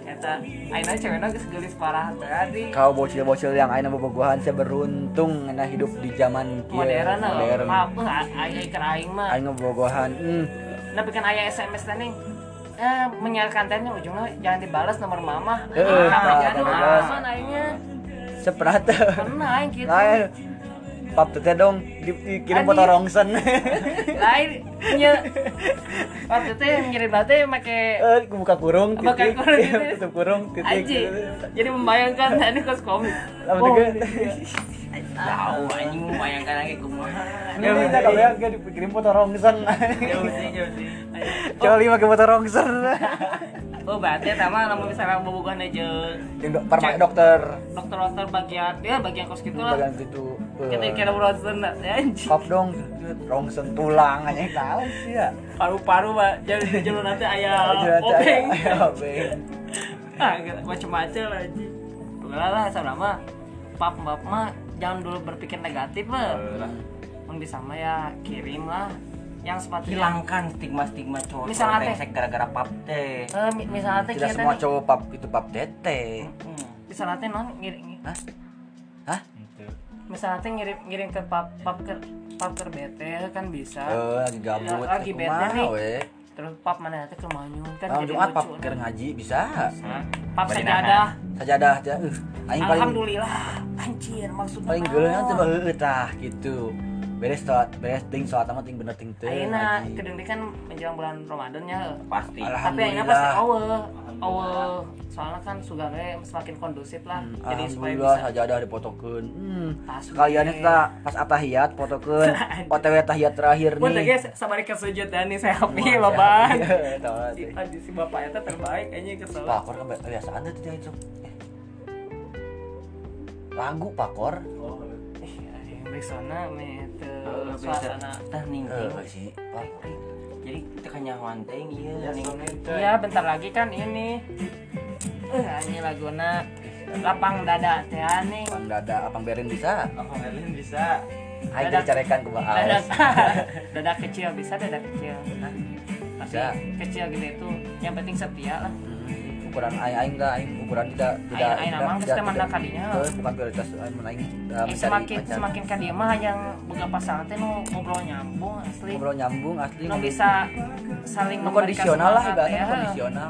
eta ayeuna cewekna geus geulis parah tadi
kau bocil-bocil yang aina bobogohan saya beruntung nah hidup di zaman kieu,
modern oh. Ah, lah
modern
apa aing keur iya, aing mah
aing bobogohan hmm.
Nah, bikin ayah SMS tadi. Eh, menyiarkan tanya ujungnya jangan dibalas nomor mama.
Eh,
Ah,
tak, tak
jadi
dibalas.
langsung akhirnya
seprata
pernah aing gitu.
lain pap tete dong di- dikirim foto
Anjing.
rongsen
Lain nya. Waktu itu yang ngirim bate make
eh buka kurung
Buka
titik
kurung, titik.
tutup kurung titik Gitu.
aji. Jadi membayangkan tadi kos komik.
lama
Oh,
tiga
Tahu anjing membayangkan lagi kumaha.
ya bisa kalau ya gak dikirim foto rongsen
Iya,
Jauh sih, jauh sih.
coba lima ke foto rongsen
Oh, bate sama namun misalnya bobogan aja
yang dok- parma dokter
dokter-dokter bagian ya bagian kos gitu lah.
bagian situ
Kita kira Bronson anjing.
pap dong rongsen tulang aja tahu sih ya
Paru-paru Pak. jadi di jalur nanti
Aja,
ayah
aja,
Oh, obeng.
aja, obeng.
ah macam-macam lah anjing Udah lah asal lama pap pap mah jangan dulu berpikir negatif lah
Iya
Mun bisa mah ya kirim lah yang
Iya.
sepatu
hilangkan stigma-stigma cowok
Misalnya teh.
brengsek gara-gara pap teh.
eh, mi- misalnya teh
tidak
kita
semua
nih
cowok pap itu pap tete
misalnya teh non ngirim
hah hah
misalnya teh ngirim ngirim ke pap pap ke pap ke bete kan bisa
Eh, lagi gabut
Lagi bete
kumaha
nih.
weh.
terus pap mana teh ke manyun kan
Malam
jadi
Jumat pap
lucu
keur
nah.
ngaji bisa.
pap
Bari
sajadah
Sajadah aja. eh, aing paling
alhamdulillah anjir maksudnya
paling geuleuh teh mah heueuh tah gitu. Beres sholat, beres ting sholat mah ting bener ting teu.
Ayeuna
ngaji.
kedengdeng kan menjelang bulan Ramadan nya
pasti
tapi akhirnya pasti
Alhamdulillah.
awal awal soalnya kan sugar semakin kondusif lah jadi supaya
Hmm, Alhamdulillah
bisa
sajadah dipotokeun. Hmm.
Tasbih.
Sekalian kita pas atahiyat fotokeun. OTW tahiyat terakhir
Buat
nih.
guys, sabar ke sujud dan nih saya happy loh bang.
Iya, tahu lah,
Si,
teh.
aduh, si bapak itu terbaik, kayaknya kesel.
Pakor kan kebiasaan tuh teh itu. Eh. Lagu Pakor.
Ih, aing Besona mete
Suasana
suasana.
tah ning.
Eh, sih. Pakor.
Jadi teu kanyawan teh ieu ning.
Iya, bentar lagi kan ini. Eh, ini laguna lapang dada teh aning.
Pang dada apang berin bisa.
oh Merlin bisa
Aing
Dada.
dicarekan ku
Dada,
Baas.
dada kecil bisa dada kecil. Nah, tapi
Bisa.
kecil gede tuh, yang penting setia lah.
Hmm, ukuran aing aing dah aing ukuran tidak tidak
Aing- aing amang geus teu mandang kadinya.
Teu, bukan prioritas aing mun aing uh,
Eh, semakin semakin kan dia mah yang boga pasangan teh nu ngobrol nyambung asli
ngobrol nyambung asli
nu bisa saling
nu
memberikan
kondisional lah
semangat,
ibaratnya nu
ya.
kondisional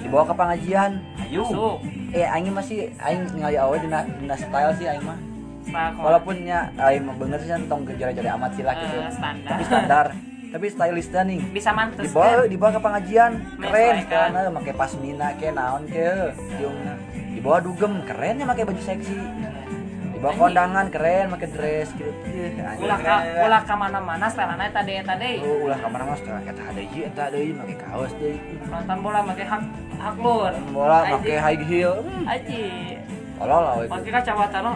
dibawa ke pengajian
Yuk. Masuk.
eh aing masih aing ningali awal dina dina style sih aing mah
Setelah kau-
walaupun nya aing mah bener sih tong jari-jari amat sih lah gitu
Oh. Eh, standar.
tapi standar tapi stylistnya nih
bisa mantus
dibawa dibawa ke pengajian keren
Menyesuaikan.
karena pakai pasmina ke naon ke diungna dibawa dugem kerennya pakai baju seksi dibawa
Anjing.
kondangan keren pakai dress gitu Eh, anjing.
ulah ka ulah ka mana-mana setelahnya tadi tadi
Oh, ulah kamar mas teh eta ada ieu eta deui make kaos deui
nonton bola pakai hak hak lur
bola
Aji.
make high heel Hmm,
aji
tolol lah we.
pakai kacamata no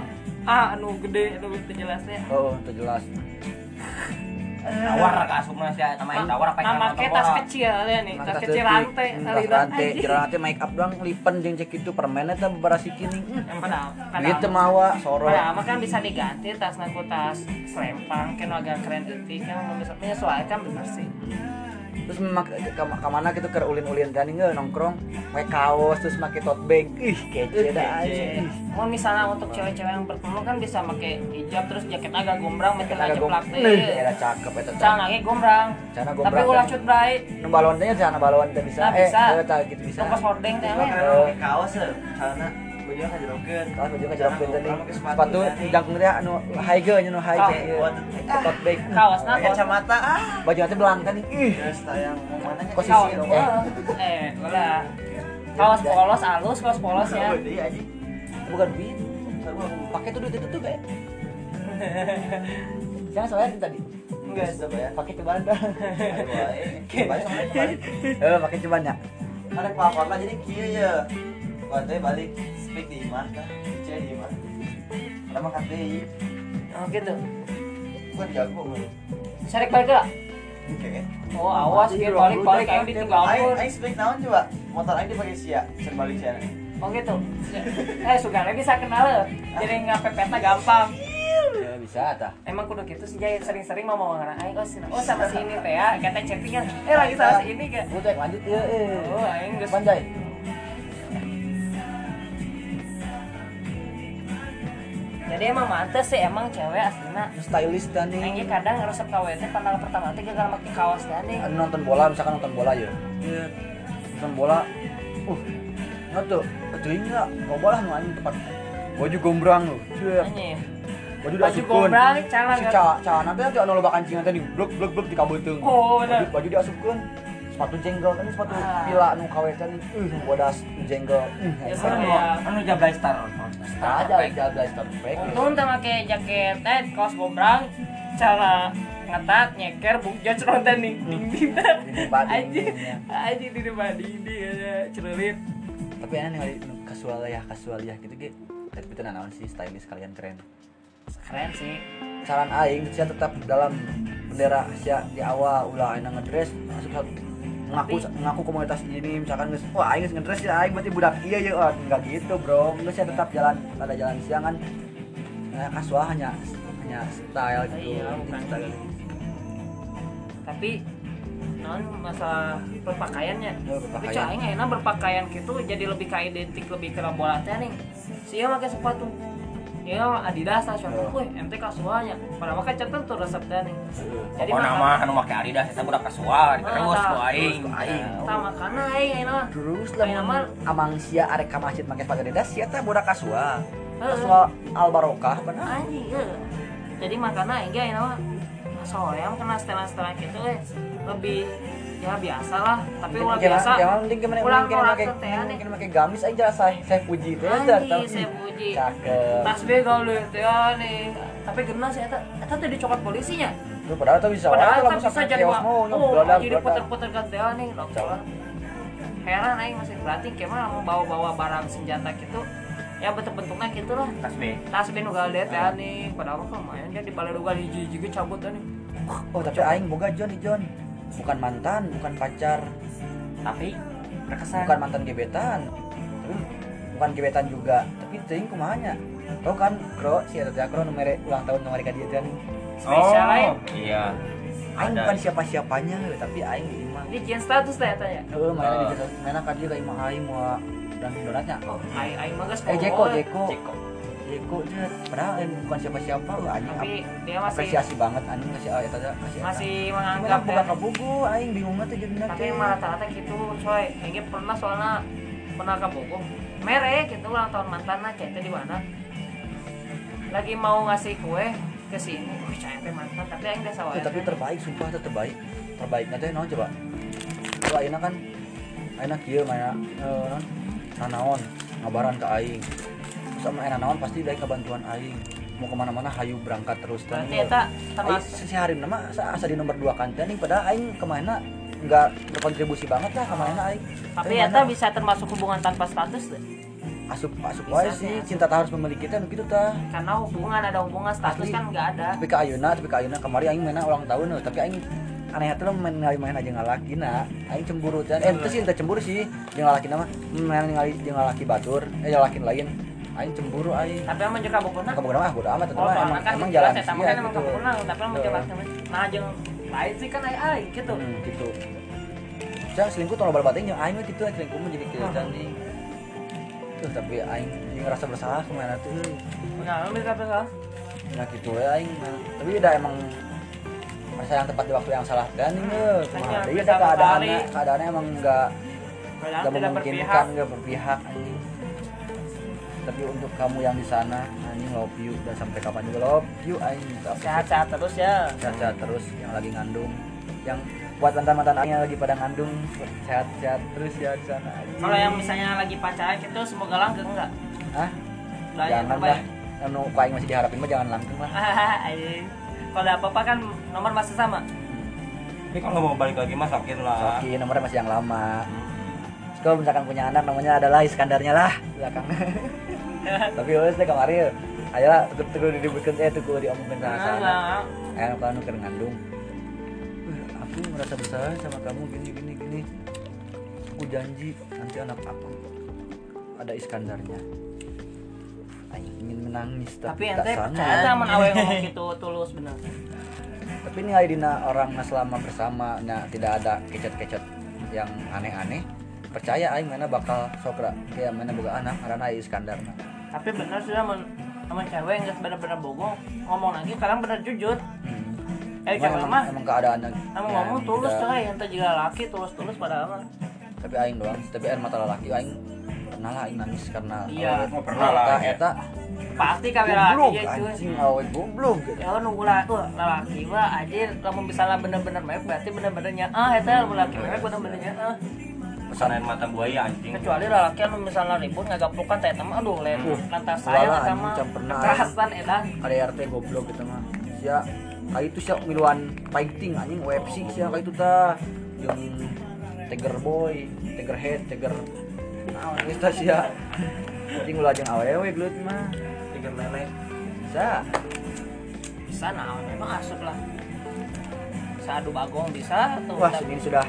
ah anu gede anu teu jelas teh
oh itu jelas
Tawar ka asupna sih eta mah tawar apa yang
Nah, pakai tas kecil ya nih, tas kecil rantai,
tas
taliran.
eh, hmm, rantai
Anjing.
jelas rantai make up doang lipen jeung cek itu permen eta beberapa kini Hmm,
Yang padahal,
duit
padahal-
teu mawa soro
Padahal mah kan bisa diganti tas naku tas selempang kan agak keren detik kan mau bisa menyesuaikan bener sih.
terus memak ke, ke mana gitu ke ulin-ulin kan nge, nongkrong pakai kaos terus pakai tote bag ih kece dah
Jadi,
anjing.
Mau misalnya untuk cewek-cewek yang berpeluh kan bisa pakai hijab terus jaket agak gombrang metel aja
Agak gom-
plak
Nih,
teh.
era cakep eta
Can lagi gombrang.
Can gombrang,
Tapi ulah
can.
cut bray.
nu balon teh sana balon teh bisa
Nah, bisa.
eh eta gitu bisa
Nongkos hordeng kan? teh
Gua
men.
keren pakai kaos ya karena bajunya kan jerogen
Kaos baju ke jalan pintu
Orang pakai
sepatu
tadi.
jangkung teh anu high ge nya nu high
Oh,
ge ieu.
buat-
Ke tote bag
Kaosna
Pakai
kaos
kacamata ah
baju teh belantan nih, ih
ya sayang mau mana nya
Posisi
kaos.
dong.
Eh, ulah. Kaos polos halus, kaos polos ya.
Oh, iya, anjing.
bukan duit pakai tuh duit itu tuh kayak jangan soalnya tadi
enggak ya. sudah bayar
pakai cobaan dah
Aduh, eh, kebalik sama kebalik.
eh pakai cobaan ya
Ada pelapor lah jadi kieu ya Coba teh balik speak di imah tah. Cek di imah. Ada makan teh ieu.
Oh gitu.
Bukan jago mah.
Serik balik lah.
Oke.
Oh awas
Jadi
dia
dua
balik
puluh
balik
dekat
aing
dia
ditinggal
Aing
pun.
aing speak naon coba? Motor aing dipake sia, cer balik sia.
Oh gitu. Eh sugan lagi bisa kenal leh. Jadi ngapepetna gampang.
Ya, Eh, bisa tah
Emang kudu gitu sih jaya sering-sering mau ngomong orang aing oh sini oh sama si ini teh ya kata chattingan eh lagi sama si ini kan.
Gua cek lanjut ya eh
Oh aing geus
Panjai
Jadi emang mantes sih emang cewek aslinya
stylist dan nih
Aing ge kadang ngerusak KW teh pandangan pertama teh gagal make kaos teh aneh.
Anu nonton bola misalkan nonton bola ya Iya. nonton bola uh nggak tuh Aduhin lah nggak bola nu anjing tepat baju gombrang lu Cuek.
Anjing.
baju
Baju gombrang, celana
si
gak-
ca celana teh teu anu loba kancing teh di blok blok blok di kabeuteng
Oh, bener.
baju, baju diasupkeun sepatu jenggot ini sepatu
Ah.
pila nu kawetan nih uh nu bodas nu jenggot uh
Ya,
hebat.
bener.
anu jablay star
Nah, aja aja aja stop break
Untung teh make jaket teh kaos gombrang cara ngetat nyeker bukja ceron teh ning ding ding teh.
Dinding ya. badi.
Anjing anjing di depan ding ding aja cerelit.
tapi aneh kali nu kasual ya kasual ya gitu ge tapi teu naon sih stylish kalian keren
Keren sih.
saran aing sia tetap dalam bendera sia di awal ulah aing ngedress asup satu ngaku ngaku komunitas ini misalkan geus wah aing geus ngedress ya aing berarti budak iya ya oh, enggak gitu bro geus sia tetap jalan pada jalan siang kan nah, kasual hanya hanya style gitu
Iya, bukan.
style
Tapi non masalah berpakaiannya.
Ya,
Tapi
berpakaian.
cah aing enak berpakaian gitu jadi lebih ke identik lebih ke bola teh nih. Si ieu make sepatu. Ya Adidas lah sepatu
Oh.
kuy ente kasualnya. Padahal mah kan tuh resep teh nih.
Iya.
jadi nama anu make Adidas eta budak kasual terus ku aing
aing
Sama kana aing aing mah.
terus
Aing mah
lah amang sia arek ka masjid make sepatu Adidas sia teh budak kasual
Heeh.
kasual albarokah benar
anjing eh. jadi makanya aing ge ayeuna mah sore yang kena setelan-setelan gitu eh lebih ya biasa lah tapi ulah biasa
jangan penting gimana
ulang
mungkin
orang
pakai
teh aneh
mungkin pakai gamis aja saya saya puji teh dah
Anjing,
tahu.
saya puji.
cakep
tas begal deh teh aneh tapi genas ya eta eta teh dicokot polisinya
Lu padahal tuh bisa orang
padahal eta bisa
sampai
jadi
chaos
mah
mau nyok,
oh
beladak,
jadi
beladak.
puter-puter kan teh aneh dokter heran aing masih berarti kemana mau bawa-bawa barang senjata gitu ya bentuk-bentuknya gitu lah
tas B
tas benugal deh teh aneh padahal mah lumayan dia di balai dugal hiji-hiji cabut aneh
oh tapi aing boga John nih John bukan mantan bukan pacar
tapi berkesan
bukan mantan gebetan tapi bukan gebetan juga tapi ting kumahanya tau kan kro si eta teh kro nomere ulang tahun nomere ka dieu teh anjing.
spesial aing
Oh, iya
aing
Ada.
bukan siapa-siapanya heuh, tapi aing di imah
Di jeans status teh tanya.
heuh mainnya di
Ah.
digital mainnya ka dieu ka imah aing moal dan donatnya
Oh, aing aing mah geus
eh Jeko
poho,
Jeko
ceko
Jeko dia padahal eh, bukan siapa-siapa lu anjing
Tapi dia
ap-
masih
apresiasi banget anjing kasih ayat aja kasih
masih
enggak
menganggap ya.
buka
teh.
kebuku aing bingung tuh jadi
Tapi emang rata-rata gitu, coy. Kayaknya pernah soalnya pernah ke Bogor. Mere gitu ulang tahun mantan lah, kayak di mana. Lagi mau ngasih kue ke sini. Wih, cahaya teh mantan, tapi aing desa wae.
Iya, tapi terbaik sumpah itu terbaik terbaik nanti no coba kalau aina kan aina kieu mana eh, non nanaon ngabaran ke aing terus sama aina naon pasti dari kebantuan aing mau kemana-mana hayu berangkat terus teh.
Berarti eta termasuk
Aing sehari nama asa asa di nomor dua kan teh nih padahal aing kemana nggak berkontribusi banget lah kemana aing
tapi
mana-
eta bisa termasuk hubungan tanpa status teh.
asup asup
Bisa,
wae sih
asup.
cinta tak harus memiliki kita begitu ta
Karena hubungan ada hubungan
Asli.
status kan nggak ada.
tapi ke Ayuna tapi ke Ayuna kemarin Aing mainnya ulang tahun loh tapi Aing aneh hati lo main ngali main aja ngalaki nah Aing cemburu dan eh itu sih entah cemburu sih jangan ngalaki nama main ngali jangan ngalaki batur eh jangan ngalakin lain Aing cemburu Aing
Tapi emang juga bobona
kamu kenapa ah bodo amat
Oh,
tentu mah,
soalnya
emang
kan
emang
jelas
jalan
ya, sama
sia
kan emang
gitu.
kepulang, tapi emang
Heeh.
jalan temen. Nah, jeung lain sih kan ai ai gitu.
Hmm, gitu saya selingkuh tolong batin yang Aing mah gitu Aing selingkuh mah jadi gitu dan nih tuh tapi Aing yang ngerasa bersalah kemana tuh
Nah, lu mikir apa salah?
nah gitu ya Aing mah. tapi udah emang masa yang tepat di waktu yang salah dan ini cuma
Hanya
ada
bisa
ya keadaannya
kembali.
keadaannya emang nggak
Padahal
nggak
tidak
memungkinkan
berpihak.
nggak berpihak anjing tapi untuk kamu yang di sana anjing love you dan sampai kapan juga love you anjing Tapi
Sehat-sehat terus ya.
sehat-sehat terus yang lagi ngandung yang buat mantan-mantan Aing yang lagi pada ngandung sehat-sehat terus ya di sana anjing.
Kalau yang misalnya lagi pacaran gitu semoga langgeng enggak?
Hah?
Doain yang
jangan lah
terbaik.
anu ku Aing masih diharapin mah jangan langsung lah
Anjing. Kalau ada apa-apa kan nomor masih sama.
tapi kalau mau balik lagi mah sakit lah
Oke, nomornya masih yang lama. kalau misalkan punya anak namanya adalah Iskandarnya lah belakang tapi wes deh kemarin ayolah tuh tuh diributkan eh tuh diomongin sama sana eh anu kan keur ngandung "Eh, aku merasa bersalah sama kamu gini gini gini aku janji nanti anak aku ada Iskandarnya Aing ingin menangis tapi,
tapi ente
tak
percaya
sanggup.
sama awe ngomong gitu tulus bener
tapi nilai dina orang nah selama bersama nah tidak ada kecet-kecet yang aneh-aneh percaya aing mana bakal sokra kayak mana boga anak karena aing Iskandar nah.
tapi bener sih sama sama cewek nggak bener-bener bogong ngomong lagi kadang bener jujur
Hmm. Cuman
eh cewek
emang,
mah
emang keadaannya
emang
ya,
ngomong tulus
tidak-
coy ente juga laki tulus-tulus padahal mah
tapi aing doang tapi air mata lelaki aing pernah lah aing nangis karena
Iya.
awet.
Oh, pernah lah,
Eta-
iya.
eta
pasti kamera
goblok
laki ya cuy
anjing awet goblok gitu
ya nunggu lah tuh lelaki mah anjir lamun bisa lah bener-bener mewek berarti bener-benernya ah eta lamun laki mewek bener-benernya ah
pesanan mata buaya anjing
kecuali lelaki anu misalnya ribut ngagaplukan teh teman aduh lain
Uh,
lantas saya
ulala,
sama ya,
anjing, pernah.
kekerasan eta
ada RT goblok gitu mah sia kayak itu sia miluan fighting anjing UFC sia kayak itu tah yang tiger boy tiger head tiger naon geus tah sia anjing ulah jeung awewe gelut mah tiger lele bisa
bisa nah memang asup lah sadu bagong bisa tuh
wah
tapi-
ini sudah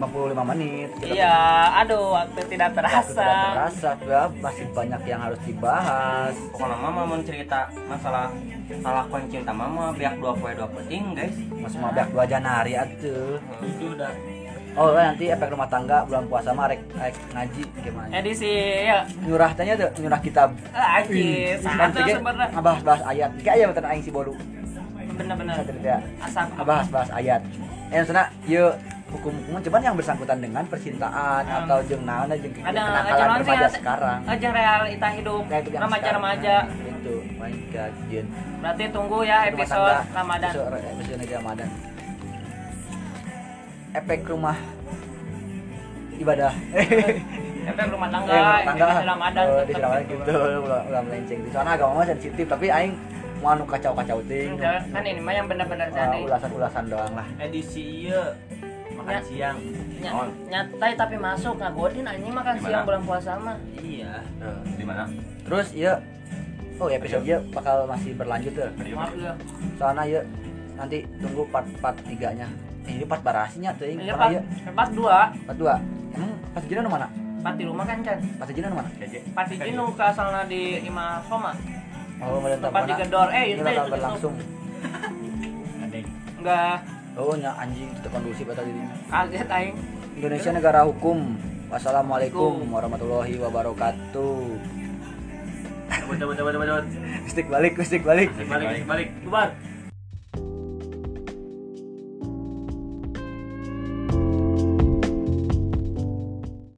55 menit Kita
iya aduh waktu tidak
waktu
terasa
tidak terasa sudah masih banyak yang harus dibahas
pokoknya mama mau cerita masalah salah cinta mama pihak dua poe dua penting guys
Mas mau ada dua Janari atuh.
itu udah
Oh, nanti efek rumah tangga bulan puasa mah rek, rek ngaji gimana?
edisi ya
nyurah tanya tuh nyurah kitab
anjir
dan Iya. Kan
satu
tiga
Iya, sebenarnya Nah.
abah bahas ayat tiga aja bentar aing si bolu
bener-bener
satu tidak
asap
abah bahas ayat eh sana yuk hukum hukum cuman yang bersangkutan dengan percintaan
Hmm.
atau jeung naon jeung
ada
kenakalan
aja
remaja sekarang
aja realita hidup
Nah, itu yang
remaja-remaja
sekarang. itu my god Jin.
berarti tunggu
Rumah
ya episode
tangga,
Ramadan
episode, episode negeri Ramadan efek rumah ibadah
efek rumah tangga
Eh, rumah tangga.
episode Ramadan
Oh, di
tetep
Ramadan
gitu.
gitu ulah ulah melenceng di sana agama mah sensitif tapi aing mau anu kacau-kacau ting
Hmm, jangan- kan ini mah yang benar-benar
Uh,
jadi
ulasan-ulasan doang lah
edisi iya makan
Ya.
siang
Nya- nyatai tapi masuk ngagodin anjing makan
Gimana?
siang bulan puasa mah
iya
Tuh.
di mana
terus ya oh ya episode ya bakal masih berlanjut tuh
maaf ya
soalnya ya nanti tunggu part part tiganya eh, ini part barasinya tuh ini
ini
part
part
ya
part Eh, dua
part dua emang part jina nu mana
part di rumah kan kan
part jina nu mana
part di nu kasalna di imah soma
oh mau tetap
Tempat
mana
digedor, eh,
ini
itu
bakal
itu, itu.
berlangsung
enggak
oh nya anjing itu kondusif atau dirinya
kaget aing
Indonesia negara hukum wassalamualaikum warahmatullahi wabarakatuh
coba coba coba coba
Stik balik, stik balik.
balik balik bubar